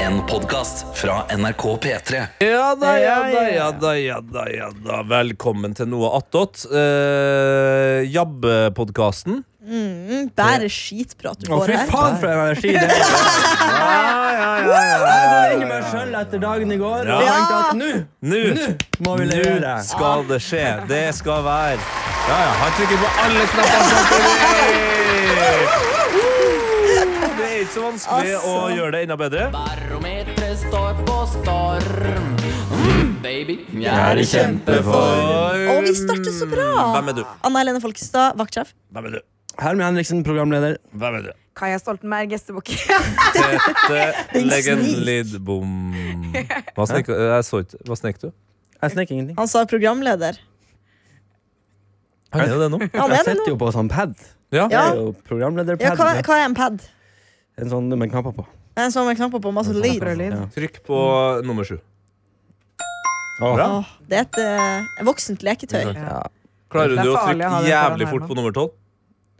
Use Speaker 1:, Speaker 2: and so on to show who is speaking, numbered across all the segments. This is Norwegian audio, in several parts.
Speaker 1: En podcast fra NRK P3
Speaker 2: Ja da, ja
Speaker 3: Ja, ja,
Speaker 2: da,
Speaker 3: ja.
Speaker 2: ja da, ja da, ja da. Velkommen til noe attåt. Uh, Jabbepodkasten.
Speaker 3: Mm, Bare skitprat du
Speaker 4: Å,
Speaker 3: får
Speaker 4: fy
Speaker 3: her.
Speaker 4: faen, for en energi! Det er. Ja, ja, ja, ja. Jeg går inn i meg sjøl etter dagen i går og
Speaker 2: Ja.
Speaker 4: tenkte at nå
Speaker 2: Nå
Speaker 4: må vi levere.
Speaker 2: nå skal det skje. Det skal være Ja, ja. Han trykker på alle knappene samtidig. Det er ikke så vanskelig å
Speaker 3: Altså.
Speaker 2: gjøre det enda bedre.
Speaker 5: Barometeret står på storm. Mm, baby, jeg er i
Speaker 3: Og vi starter så bra!
Speaker 2: Hvem er du?
Speaker 3: Anna Helene Folkestad, vaktsjef.
Speaker 2: Hvem er du?
Speaker 4: Herman Henriksen, programleder.
Speaker 2: Hvem er du?
Speaker 6: Kaja Stoltenberg, gjestebukk.
Speaker 2: Tete
Speaker 3: En snik.
Speaker 2: Legendlidbom. Hva snek, jeg så ikke. Hva snek du?
Speaker 4: Jeg snek ingenting.
Speaker 3: Han sa programleder.
Speaker 2: Han er jo det nå.
Speaker 3: Han
Speaker 4: Jeg
Speaker 3: er det
Speaker 4: sitter
Speaker 3: nå.
Speaker 4: jo på sånn pad.
Speaker 2: Ja.
Speaker 4: Det
Speaker 3: Ja.
Speaker 4: er
Speaker 3: Ja,
Speaker 4: jo
Speaker 3: hva,
Speaker 4: programlederpad.
Speaker 3: hva er en pad?
Speaker 4: En sånn med knapper på.
Speaker 3: Det er En sånn med knapper på masse lyd.
Speaker 4: Ja.
Speaker 2: Trykk på nummer sju.
Speaker 4: Å,
Speaker 3: Åh, det er et eh, voksent leketøy.
Speaker 6: Ja.
Speaker 2: Klarer
Speaker 6: Det er
Speaker 2: du å
Speaker 6: farlig
Speaker 2: trykke
Speaker 6: å ha det foran
Speaker 2: jævlig
Speaker 6: her
Speaker 2: fort
Speaker 6: nå.
Speaker 2: på nummer tolv?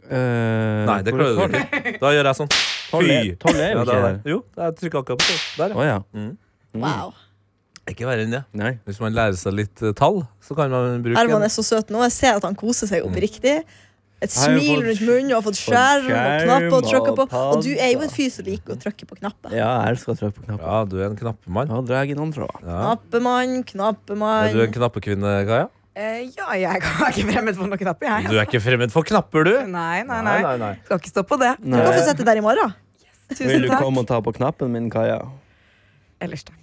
Speaker 4: eh,
Speaker 2: Nei, det klarer du ikke. Da gjør jeg sånn.
Speaker 4: Tolv er-
Speaker 2: Fy.
Speaker 4: tolv er jo
Speaker 2: Ja,
Speaker 4: ikke
Speaker 2: der,
Speaker 4: her.
Speaker 2: der. Jo, jeg trykket akkurat på tolv. Der, ja.
Speaker 4: Å ja.
Speaker 2: Mm.
Speaker 4: Mm,
Speaker 3: Wow.
Speaker 2: Ikke verre enn det.
Speaker 4: Nei.
Speaker 2: Hvis man lærer seg litt eh, tall, så kan man bruke
Speaker 3: Herman er
Speaker 2: en
Speaker 3: så søt nå. Jeg ser at han koser seg oppriktig. Et
Speaker 4: Jeg har jo
Speaker 3: smil
Speaker 4: fått-
Speaker 3: rundt munnen og har fått
Speaker 4: fått
Speaker 3: skjerm og
Speaker 4: skjerm
Speaker 3: knapper å trykke på.
Speaker 4: og pad,
Speaker 3: Og du er jo en fyr som liker å trykke på knapper.
Speaker 4: Ja, jeg elsker å trykke på knapper.
Speaker 2: Ja, du er en knappemann.
Speaker 4: Da drar jeg inn andre. da.
Speaker 2: Ja.
Speaker 3: Knappemann,
Speaker 2: Er du en
Speaker 3: knappemann.
Speaker 2: knappekvinne, Kaja?
Speaker 6: Eh, ja, jeg er ikke fremmed for noen knapper,
Speaker 2: Du
Speaker 6: jeg.
Speaker 2: er ikke fremmed for knapper, du!
Speaker 6: Nei, nei, nei. Skal ikke stå på det.
Speaker 3: Du kan få
Speaker 4: Nei.
Speaker 3: sette der i morgen.
Speaker 6: Tusen
Speaker 4: Vil du
Speaker 6: takk.
Speaker 4: komme og ta på knappen min, Kaja?
Speaker 6: Ellers takk.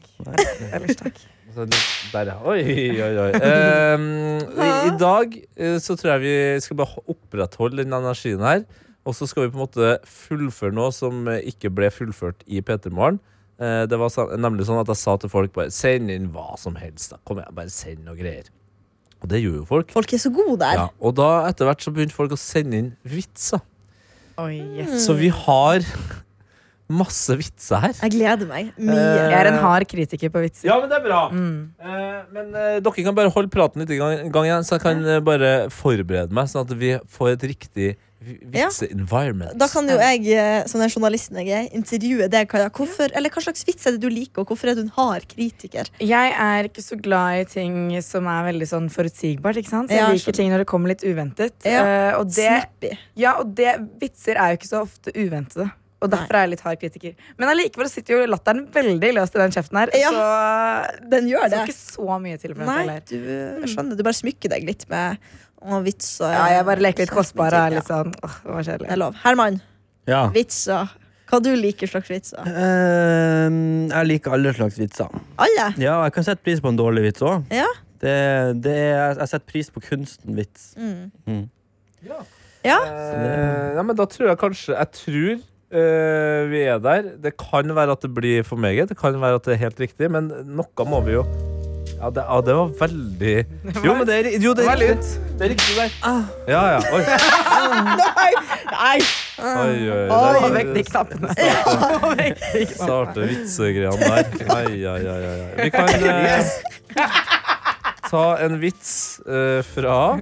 Speaker 6: Ellers takk.
Speaker 2: Så litt Der, ja. Oi, oi, oi. Ehm, i, I dag eh, så tror jeg vi skal bare ho- opprettholde den energien her. Og så skal vi på en måte fullføre noe som eh, ikke ble fullført i P3 Morgen. Eh, det var sa- nemlig sånn at jeg sa til folk bare send inn hva som helst. da. Kom igjen, bare send noe greier. Og det gjorde jo folk.
Speaker 3: Folk er så gode der.
Speaker 2: Ja, og da etter hvert så begynte folk å sende inn vitser.
Speaker 6: Oi, yes.
Speaker 2: Så vi har masse vitser her.
Speaker 3: Jeg gleder meg mye.
Speaker 6: Jeg er en hard kritiker på vitser.
Speaker 2: Ja, men det er bra.
Speaker 3: Mm.
Speaker 2: Eh, men eh, dere kan bare holde praten litt i gang, gang igjen, så jeg kan eh, bare forberede meg, sånn at vi får et riktig vi-
Speaker 3: Ja.
Speaker 2: vitse-environment.
Speaker 3: Da kan jo jeg, eh, som den journalisten jeg er, intervjue deg, Kaja. Hvorfor, eller hva slags vits er det du liker, og hvorfor er du en hard kritiker?
Speaker 6: Jeg er ikke så glad i ting som er veldig sånn forutsigbart. ikke sant? Så
Speaker 3: Ja,
Speaker 6: jeg
Speaker 3: skjønner.
Speaker 6: liker ting når det kommer litt uventet.
Speaker 3: Ja.
Speaker 6: Eh, og det,
Speaker 3: Snappy.
Speaker 6: ja, og det, vitser er jo ikke så ofte uventede. Og derfor er jeg litt hard kritiker. Men allikevel sitter jo latteren veldig løst i den kjeften her.
Speaker 3: Ja.
Speaker 6: Så
Speaker 3: Den gjør
Speaker 6: det
Speaker 3: det.
Speaker 6: skal ikke så mye til. for at jeg
Speaker 3: Nei,
Speaker 6: ler.
Speaker 3: du, jeg skjønner. Du bare smykker deg litt med og vitser.
Speaker 6: Ja, jeg bare leker litt kostbar og er litt
Speaker 3: Ja,
Speaker 6: sånn åh, det var
Speaker 3: Det er
Speaker 6: kjedelig.
Speaker 3: lov. Herman,
Speaker 4: Ja.
Speaker 3: vitser. Hva du liker slags vitser?
Speaker 4: Ehm, jeg liker alle slags vitser.
Speaker 3: Alle?
Speaker 4: Ja, jeg kan sette pris på en dårlig vits òg.
Speaker 3: Ja.
Speaker 4: Det, det er, jeg setter pris på kunsten vits.
Speaker 3: Ja?
Speaker 2: Eh, ja, men da tror jeg kanskje Jeg tror eh, vi er der. Det kan være at det blir for meget, det kan være at det er helt riktig, men noe må vi jo ja, det, ja, det var veldig Jo, men det er, jo, det er riktig. Det er riktig der. Ja, ja. Oi,
Speaker 3: Ah. Nei!
Speaker 2: oi, oi.
Speaker 3: Oi,
Speaker 2: Der-
Speaker 6: Få vekk de knappene.
Speaker 2: Starte vitsegreiene der. Ai, ai, ai, ai. ai. Vi kan eh, ta en vits eh, fra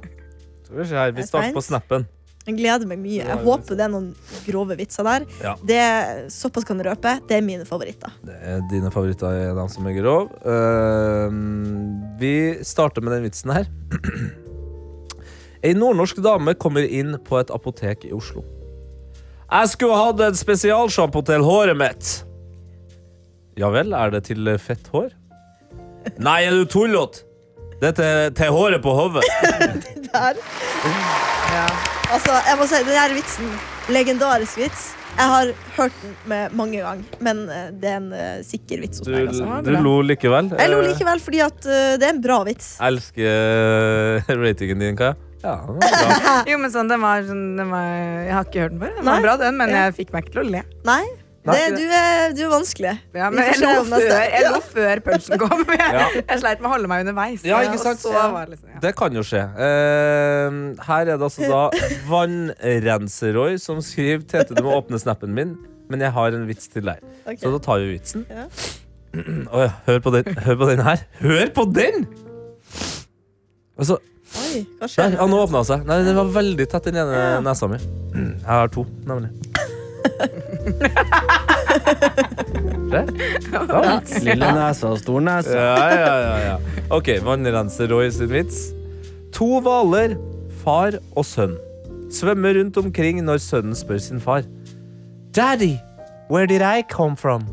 Speaker 2: Skal vi se her. Vi starter på snappen.
Speaker 3: Jeg gleder meg mye. Jeg håper det er noen grove vitser der.
Speaker 2: Ja.
Speaker 3: Det, såpass kan jeg røpe. Det er mine favoritter.
Speaker 2: Det er Eh, dine favoritter er de som er grov. Eh, vi starter med den vitsen her. Ei nordnorsk dame kommer inn på et apotek i Oslo. Jeg skulle hatt en spesialsjampo til håret mitt. Ja vel, er det til fett hår? Nei, er du tullete? Det er til, til håret på hodet.
Speaker 3: Der. Altså, jeg må si, den her vitsen, legendarisk vits. Jeg har hørt den med mange ganger, men eh, det er en eh, sikker vits hos
Speaker 2: Du,
Speaker 3: meg. Altså.
Speaker 2: du lo likevel.
Speaker 3: Jeg lo likevel fordi at eh, det er en bra vits.
Speaker 2: Eh, Elsker eh, ratingen din, Kaja. Ja, det var bra.
Speaker 6: Jo, men sånn, den var, sånn, den var Jeg har ikke hørt den før. Den
Speaker 3: Nei.
Speaker 6: var bra, den, men
Speaker 3: Ja.
Speaker 6: jeg fikk meg ikke til å le.
Speaker 3: Nei,
Speaker 2: Nei.
Speaker 3: det, du, er, du er vanskelig.
Speaker 6: Ja,
Speaker 3: Vi
Speaker 6: men
Speaker 3: får
Speaker 6: jeg
Speaker 3: se
Speaker 6: lo,
Speaker 3: om
Speaker 6: før,
Speaker 3: neste-
Speaker 6: jeg lo før punchen kom. Jeg,
Speaker 2: Ja.
Speaker 6: jeg sleit med å holde meg underveis.
Speaker 2: Ja, ikke sant?
Speaker 6: Og så var det liksom, ja.
Speaker 2: Det kan jo skje. Eh, her er det altså da Vannrenseroy som skriver Tete, du må åpne snappen min, men jeg har en vits til deg.
Speaker 3: Ok.
Speaker 2: Så da tar vi vitsen.
Speaker 3: Ja.
Speaker 2: Å ja, hør på den, hør på den her. Hør på den! Altså,
Speaker 3: Oi, hva
Speaker 2: der,
Speaker 3: skjer?
Speaker 2: ja, nå åpna den seg. Nei, den var veldig tett, den ene
Speaker 3: Ja.
Speaker 2: nesa mi. Jeg har to, nemlig. svarte. Ja,
Speaker 4: Lille nese og stor nese.
Speaker 2: ja, ja, ja, ja. Ok, vannrenser Roy sin vits. To hvaler, far og sønn, svømmer rundt omkring når sønnen spør sin far. Daddy, where did I come from?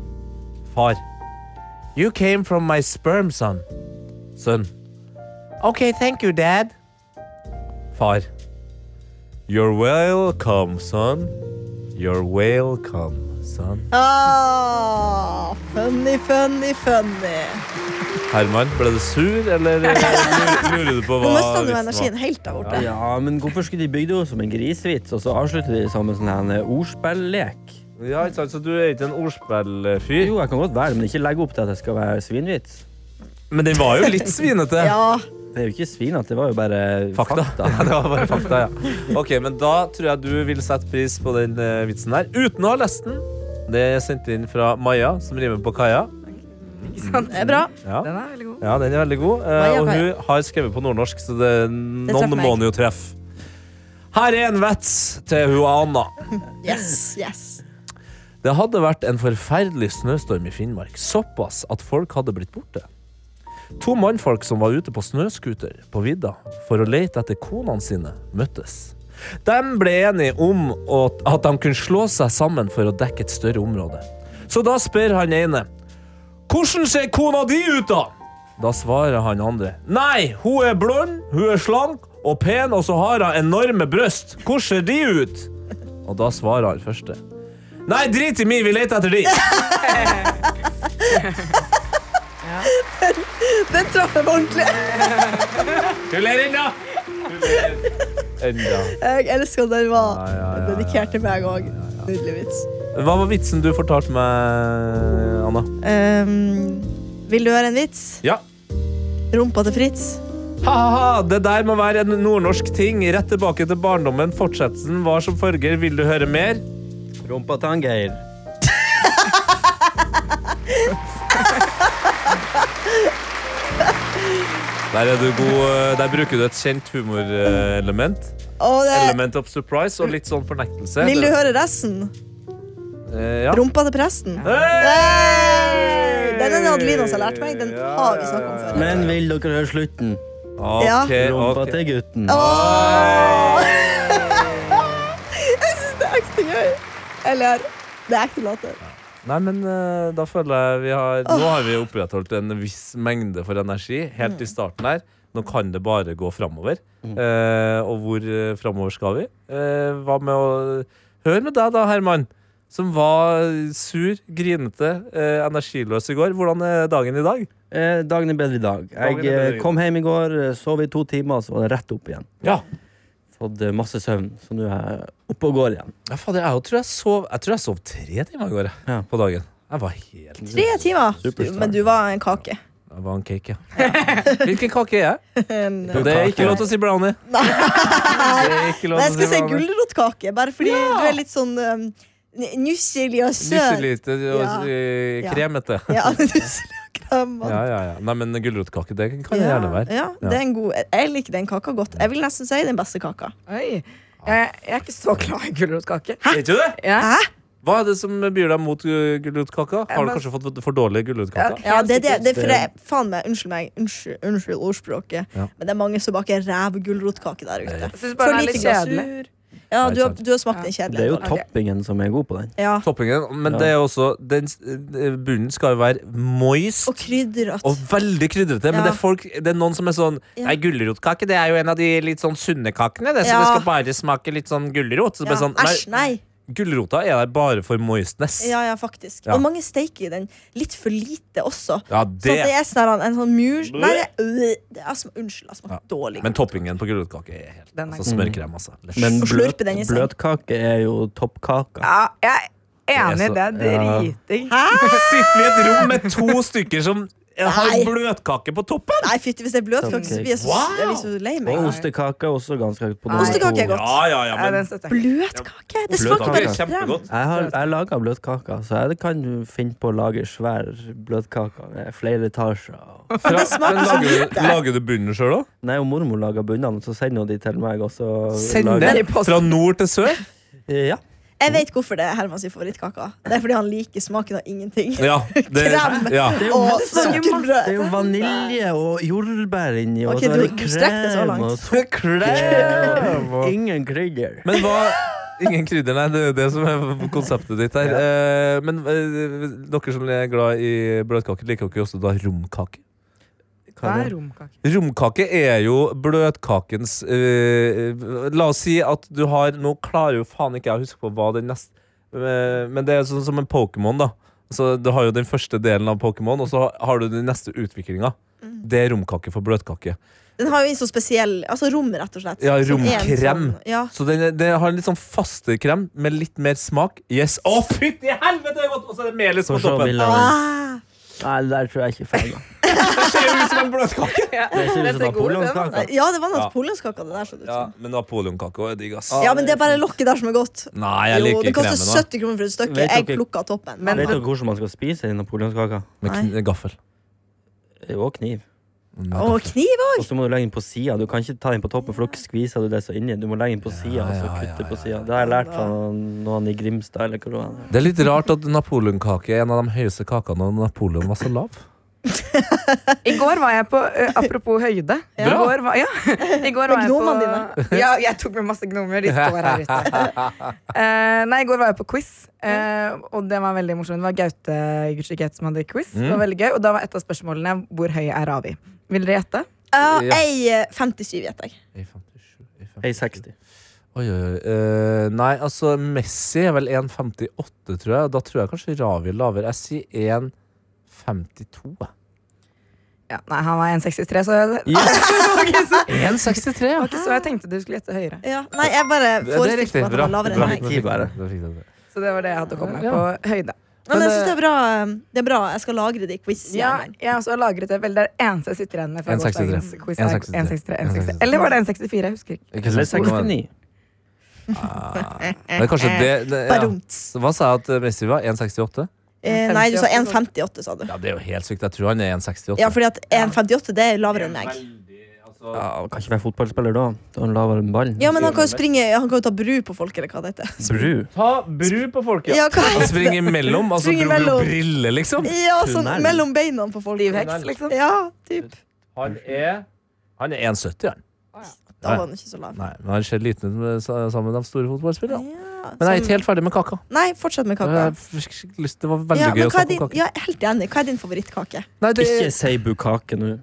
Speaker 2: Far. You came from my sperm, son. Sønn. Ok, thank you, dad. Far. You're welcome, son. You're welcome, son.
Speaker 3: Ah, funny, funny, funny.
Speaker 2: Herman, ble du sur, eller eh, lu- lurer du på hva liksom
Speaker 3: Nå mista du
Speaker 2: vitsen var?
Speaker 3: energien helt der borte.
Speaker 4: Ja, men hvorfor skulle de bygge det opp som en grisevits, og så avslutte de som en sånn her ordspilllek?
Speaker 2: Ja, ikke sant, så du er ikke en ordspillfyr?
Speaker 4: Jo, jeg kan godt være, men ikke legge opp til at det skal være svinvits.
Speaker 2: Men den var jo litt svinete.
Speaker 3: Ja.
Speaker 4: Det er jo ikke svin, at det var jo bare
Speaker 2: Fakta.
Speaker 4: fakta.
Speaker 2: Ja, det var bare fakta, ja. Ok, men da tror jeg du vil sette pris på den eh, vitsen her, uten å ha lest den. Det er sendt inn fra Maja, som rimer på Kaja.
Speaker 6: Ikke sant?
Speaker 3: Det er bra.
Speaker 2: Ja,
Speaker 6: Den er veldig god.
Speaker 2: ja den er veldig god. eh,
Speaker 3: Maja,
Speaker 2: og
Speaker 3: Kaja.
Speaker 2: hun har skrevet på nordnorsk, så det,
Speaker 3: treffer
Speaker 2: noen
Speaker 3: meg.
Speaker 2: må hun jo treffe. Her er en vits til hun Anna.
Speaker 3: Yes, yes.
Speaker 2: Det hadde vært en forferdelig snøstorm i Finnmark, såpass at folk hadde blitt borte. To mannfolk som var ute på snøskuter på vidda for å lete etter konene sine, møttes. De ble enige om å- at de kunne slå seg sammen for å dekke et større område. Så da spør han ene Hvordan ser kona di ut, da? Da svarer han andre Nei, hun er blond, hun er slank og pen, og så har hun enorme bryst. Hvordan ser de ut? Og da svarer han første. Nei, drit i meg, vi leter etter de.
Speaker 3: Den traff jeg på ordentlig.
Speaker 2: Du ler ennå. Enda.
Speaker 3: Jeg elsker at den var
Speaker 2: Ja, ja, ja, ja.
Speaker 3: dedikert til meg òg. Nydelig vits.
Speaker 2: Hva var vitsen du fortalte meg, Anna?
Speaker 3: Ehm, vil du høre en vits?
Speaker 2: Ja.
Speaker 3: Rumpa til Fritz.
Speaker 2: Ha-ha-ha, det der må være en nordnorsk ting. Rett tilbake til barndommen. Fortsettelsen var som følger. Vil du høre mer?
Speaker 4: Rumpa til han Geir.
Speaker 2: Der, er du god, eh, der bruker du et kjent humorelement.
Speaker 3: Og det,
Speaker 2: Element of surprise og litt sånn fornektelse.
Speaker 3: vil du høre resten?
Speaker 2: Eh, ja.
Speaker 3: Rumpa til presten.
Speaker 2: Hey!
Speaker 3: Den er det Adelina som har lært meg. Den
Speaker 2: Ja,
Speaker 3: har vi
Speaker 2: ja,
Speaker 3: snakket om
Speaker 2: ja.
Speaker 3: før.
Speaker 4: Men vil dere høre slutten?
Speaker 3: Ja.
Speaker 2: Ok, Eh,
Speaker 4: Rumpa
Speaker 2: ok.
Speaker 4: til gutten.
Speaker 3: Åh! Jeg syns det er ekte gøy. Eller det er ekte latter.
Speaker 2: Nei, men eh, da føler jeg vi har Nå har vi opprettholdt en viss mengde for energi helt
Speaker 3: Mm.
Speaker 2: i starten her. Nå kan det bare gå framover. Eh, og hvor uh, framover skal vi? Eh, hva med å Hør med deg, da, Herman. Som var sur, grinete, eh, energiløs i går. Hvordan er dagen i dag?
Speaker 4: Eh, dagen er bedre i dag.
Speaker 2: Dagen er
Speaker 4: Jeg
Speaker 2: bedre i
Speaker 4: eh, kom hjem i går, eh, sov i to timer, så var det rett opp igjen.
Speaker 2: Ja.
Speaker 4: Fått eh, masse søvn, så nå er jeg oppe og går igjen.
Speaker 2: fader, jeg, tror jeg, sov, jeg tror jeg sov tre timer i går jeg,
Speaker 4: Ja.
Speaker 2: på dagen. Jeg var helt
Speaker 3: Tre timer.
Speaker 4: Superstar.
Speaker 3: Men du var en kake.
Speaker 2: Jeg var en cake, ja. Hvilken kake er jeg?
Speaker 3: En,
Speaker 2: Og Det er ikke lov til å si brownie. Det er ikke lov
Speaker 3: Men
Speaker 2: til å
Speaker 3: jeg skulle si
Speaker 2: brownie.
Speaker 3: gulrotkake, bare fordi du er litt sånn um, n- nusselig og søt.
Speaker 2: Nusselite og
Speaker 3: Ja.
Speaker 2: eh,
Speaker 3: Ja.
Speaker 2: kremete.
Speaker 3: Ja, nusselig og kremmer.
Speaker 2: Ja, ja, ja. Nei, men grotkake, det kan det gjerne være.
Speaker 3: Ja, det er en god, jeg- jeg liker den kaka godt. Jeg vil nesten si den beste kaka.
Speaker 6: Oi. Jeg, jeg er ikke så glad i gulrotkake.
Speaker 2: Er ikke det?
Speaker 6: Ja.
Speaker 2: Hva er det som byr deg mot eh, gulrotkaka?
Speaker 6: Ja,
Speaker 2: Har du
Speaker 6: men-
Speaker 2: kanskje fått for dårlig gulrotkake?
Speaker 3: Ja, det, det, det, for
Speaker 4: Det-
Speaker 3: det, faen meg, Unnskyld meg, unnskyld, unnskyld ordspråket,
Speaker 2: Ja.
Speaker 3: men det er mange som baker ræv gulrotkake der ute.
Speaker 6: Jeg syns bare den er
Speaker 3: litt
Speaker 6: litt
Speaker 3: glasur.
Speaker 6: kjedelig.
Speaker 3: Ja,
Speaker 2: Nei,
Speaker 3: du har,
Speaker 2: sant.
Speaker 3: du har smakt den
Speaker 4: Det er
Speaker 3: kjedelig.
Speaker 4: jo
Speaker 6: Ok.
Speaker 4: toppingen som er god på den.
Speaker 3: Ja.
Speaker 2: Toppingen. Men
Speaker 4: Ja.
Speaker 2: det er også den, s- eh, Bunnen skal jo være moist.
Speaker 3: Og krydderrødt.
Speaker 2: Og veldig krydrete, men
Speaker 3: Ja.
Speaker 2: det er, folk, det er noen som er sånn
Speaker 3: Ja.
Speaker 2: Nei, gulrotkake det er jo en av de litt sånn sunne kakene. Det, så
Speaker 3: Ja.
Speaker 2: det skal bare smake litt sånn gulrot. Så det
Speaker 3: Ja.
Speaker 2: blir sånn,
Speaker 3: Æsj,
Speaker 2: nei,
Speaker 3: nei.
Speaker 2: gulrota er der bare for moistness.
Speaker 3: Ja, ja, faktisk.
Speaker 2: Ja.
Speaker 3: Og mange steker den litt for lite også.
Speaker 2: Ja,
Speaker 3: Så det
Speaker 2: det.
Speaker 3: er sånn her, en sånn mur Nei, det, øh, det er, sm- unnskyld, jeg har smakt dårlig.
Speaker 2: Men toppingen på gulrotkake er helt
Speaker 6: Den er
Speaker 2: altså, smørkrem, altså.
Speaker 4: Men
Speaker 3: Og slurpe
Speaker 4: bløt,
Speaker 3: den i seg.
Speaker 4: bløtkake er jo toppkaka.
Speaker 6: Ja, jeg er enig.
Speaker 2: Det
Speaker 6: Det
Speaker 2: er
Speaker 6: er driting.
Speaker 2: Sitter vi i et rom med to stykker som har
Speaker 3: Nei.
Speaker 2: bløtkake på toppen?
Speaker 3: Nei, fytti hvis det er bløtkake, så blir jeg
Speaker 2: Sånn
Speaker 3: så,
Speaker 2: Wow!
Speaker 3: jeg blir så lei meg.
Speaker 4: Og ostekake er også ganske høyt på den.
Speaker 3: Ostekake er godt.
Speaker 2: Ja, ja, ja,
Speaker 6: Ja,
Speaker 2: men
Speaker 6: den støtter jeg.
Speaker 3: Bløtkake? Det
Speaker 2: bløtkake
Speaker 3: smaker bare
Speaker 2: er
Speaker 3: krem.
Speaker 2: kjempegodt.
Speaker 4: Jeg har jeg laga bløtkaka, så jeg kan finne på å lage svær bløtkake med flere etasjer.
Speaker 2: Fra,
Speaker 3: det smaker sånn
Speaker 2: men
Speaker 3: så
Speaker 2: lager, du, lager du bunnen sjøl òg?
Speaker 4: Nei, og mormor lager bunnene, så sender hun de til meg. Og så
Speaker 2: Send
Speaker 4: lager-
Speaker 2: det fra nord til sør?
Speaker 4: Ja.
Speaker 3: Jeg vet hvorfor det er Hermans favorittkake. Det er fordi han liker smaken av ingenting.
Speaker 2: Ja, det,
Speaker 3: Krem.
Speaker 2: ja.
Speaker 4: Det er jo
Speaker 3: Og
Speaker 4: masse- Det er
Speaker 3: sukkerbrød.
Speaker 4: jo vanilje og jordbær inni, og
Speaker 3: Ok,
Speaker 4: så er det
Speaker 3: du- du strekte det så
Speaker 4: krem
Speaker 3: langt.
Speaker 4: og sukkerkrem.
Speaker 2: og-
Speaker 4: Ingen krydder.
Speaker 2: Eh, Men hva Ingen krydder, nei. Det er jo det som er konseptet ditt her. Eh, Men eh, dere som er glad i bløtkake, liker dere også da romkake?
Speaker 6: Hva er romkake?
Speaker 2: Romkake er jo bløtkakens eh, La oss si at du har Nå klarer jo faen ikke jeg å huske på hva den neste Men det er sånn som en Pokémon, da. Så Du har jo den første delen av Pokémon, og så har du den neste utviklinga.
Speaker 3: Mm.
Speaker 2: Det er romkake for bløtkake.
Speaker 3: Den har jo en sånn spesiell Altså rom, rett og slett.
Speaker 2: Ja,
Speaker 3: Som er en
Speaker 2: romkrem.
Speaker 3: sånn- Ja.
Speaker 2: Så den, den har en litt sånn fastere krem med litt mer smak. Yes! Å, fytti helvete! det er godt! Og så er det melis på
Speaker 4: Få se
Speaker 2: toppen.
Speaker 4: bilder av den.
Speaker 3: Ah,
Speaker 4: Nei, det der tror jeg ikke er feil. da.
Speaker 2: Det ser jo ut som en bløtkake!
Speaker 4: Det ser ut som
Speaker 6: ser god ut, den,
Speaker 4: napoleonskake.
Speaker 3: ja, det var
Speaker 2: Ja.
Speaker 3: noe polonskake av det der. Så det ut
Speaker 2: Ja,
Speaker 3: som.
Speaker 2: men napoleonkake også er digg, ass.
Speaker 3: Ja, men det er bare lokket der som er godt.
Speaker 2: Nei, jeg
Speaker 3: jo,
Speaker 2: liker
Speaker 3: det koster
Speaker 2: kremen.
Speaker 3: 70 kroner for et stykke.
Speaker 4: Vet
Speaker 3: Jeg
Speaker 4: dere-
Speaker 3: plukka toppen. Men,
Speaker 6: Men-
Speaker 4: Vet dere hvordan man skal spise en napoleonskake?
Speaker 2: da Med kn- gaffel.
Speaker 4: Og kniv.
Speaker 3: og kniv òg!
Speaker 4: Og så må du legge den på sida. Du kan ikke ta den på toppen, for da skviser du det så inni. Du må legge den på sida og så
Speaker 2: ja,
Speaker 4: kutte
Speaker 2: ja,
Speaker 4: på sida. Det har jeg lært fra noen i Grimstad eller hvor det var.
Speaker 2: Det er litt rart at napoleonkake er en av de høyeste kakene når Napoleon var så lav.
Speaker 6: I går var jeg på eh, Apropos høyde. I
Speaker 2: Bra.
Speaker 6: går var, ja. I går var jeg på
Speaker 3: gnomene
Speaker 6: Ja, jeg tok med masse gnomer. De står her ute. Eh, nei, i går var jeg på quiz, eh, og det var veldig morsomt. Det var Gaute Gutsjikhet som hadde quiz. Det var veldig gøy, Og da var et av spørsmålene 'Hvor høy er Ravi?' Vil dere gjette?
Speaker 2: Ja.
Speaker 3: Ja, jeg eh, 57, gjetter jeg.
Speaker 4: Jeg er 60.
Speaker 2: Oi, oi, oi. Eh, nei, altså Messi er vel 1,58, tror jeg. Da tror jeg kanskje Ravi er lavere. Jeg sier 1,52. jeg.
Speaker 6: Ja, nei, han var 1,63, så jeg,
Speaker 4: Ja.
Speaker 6: okay, så,
Speaker 2: 1,63, ja.
Speaker 6: så jeg tenkte du skulle gjette høyere.
Speaker 3: Ja. Nei, jeg bare
Speaker 2: Det er
Speaker 3: forestilte
Speaker 2: riktig.
Speaker 3: meg at det
Speaker 2: Bra.
Speaker 3: var
Speaker 2: bra.
Speaker 3: lavere enn meg.
Speaker 2: Nå fikk jeg det. Nå fikk jeg det.
Speaker 6: Så det var det jeg hadde å komme med
Speaker 2: Ja.
Speaker 6: på høyde.
Speaker 3: Ja, men
Speaker 2: Men,
Speaker 3: jeg synes
Speaker 2: eh,
Speaker 3: det, er bra, det er bra. Jeg skal lagre det i
Speaker 6: Ja,
Speaker 3: quiz-hjernen.
Speaker 6: jeg også har lagret det. Vel, det er det eneste jeg sitter igjen med. fra
Speaker 2: 1,63.
Speaker 6: gårsdagens quiz er
Speaker 2: 1,63.
Speaker 6: 1,63, 1,63. Eller var det 1,64? Jeg husker ikke.
Speaker 2: Ikke
Speaker 4: Eller
Speaker 2: sant?
Speaker 4: 69.
Speaker 2: Det er kanskje det, det ja.
Speaker 3: Baromt.
Speaker 2: Hva sa jeg at eh, Messi var? 1,68?
Speaker 3: Eh, Nei, du sa
Speaker 6: 1,58,
Speaker 3: 1,58, sa du.
Speaker 2: Ja, det er jo helt sykt. Jeg tror han er 1,68.
Speaker 3: Ja, fordi at 1,58 det er lavere enn meg.
Speaker 4: Ja, og kan ikke være fotballspiller da. Da han lavere enn ballen.
Speaker 3: Ja, men han kan jo springe Han kan jo ta bru på folk, eller hva det heter.
Speaker 4: Bru.
Speaker 2: Ta bru på folket.
Speaker 3: Ja, hva
Speaker 2: Han
Speaker 3: heter det?
Speaker 2: springer imellom. Altså,
Speaker 3: Springer
Speaker 2: bru- bru-
Speaker 3: imellom.
Speaker 2: Brille, liksom.
Speaker 3: Ja, sånn
Speaker 4: Tunnel.
Speaker 3: mellom beina på folk.
Speaker 6: Livheks, liksom.
Speaker 3: Ja, typ.
Speaker 2: Han er Han er 1,70, han.
Speaker 3: Da var han ikke så lav.
Speaker 2: Nei, men han ser liten ut med, sa- sammen med de store fotballspillerne.
Speaker 3: Ja,
Speaker 2: Men jeg er
Speaker 3: sånn-
Speaker 2: ikke helt ferdig med kaka.
Speaker 3: Nei, fortsett med
Speaker 2: Jeg har
Speaker 3: kaka.
Speaker 2: skikkelig lyst- Det var veldig
Speaker 3: Ja,
Speaker 2: gøy å
Speaker 3: men hva er
Speaker 2: snakke
Speaker 3: din,
Speaker 2: om kake.
Speaker 3: ja, jeg er helt enig. Hva er din favorittkake?
Speaker 2: Nei, det,
Speaker 4: Ikke si bukake nå.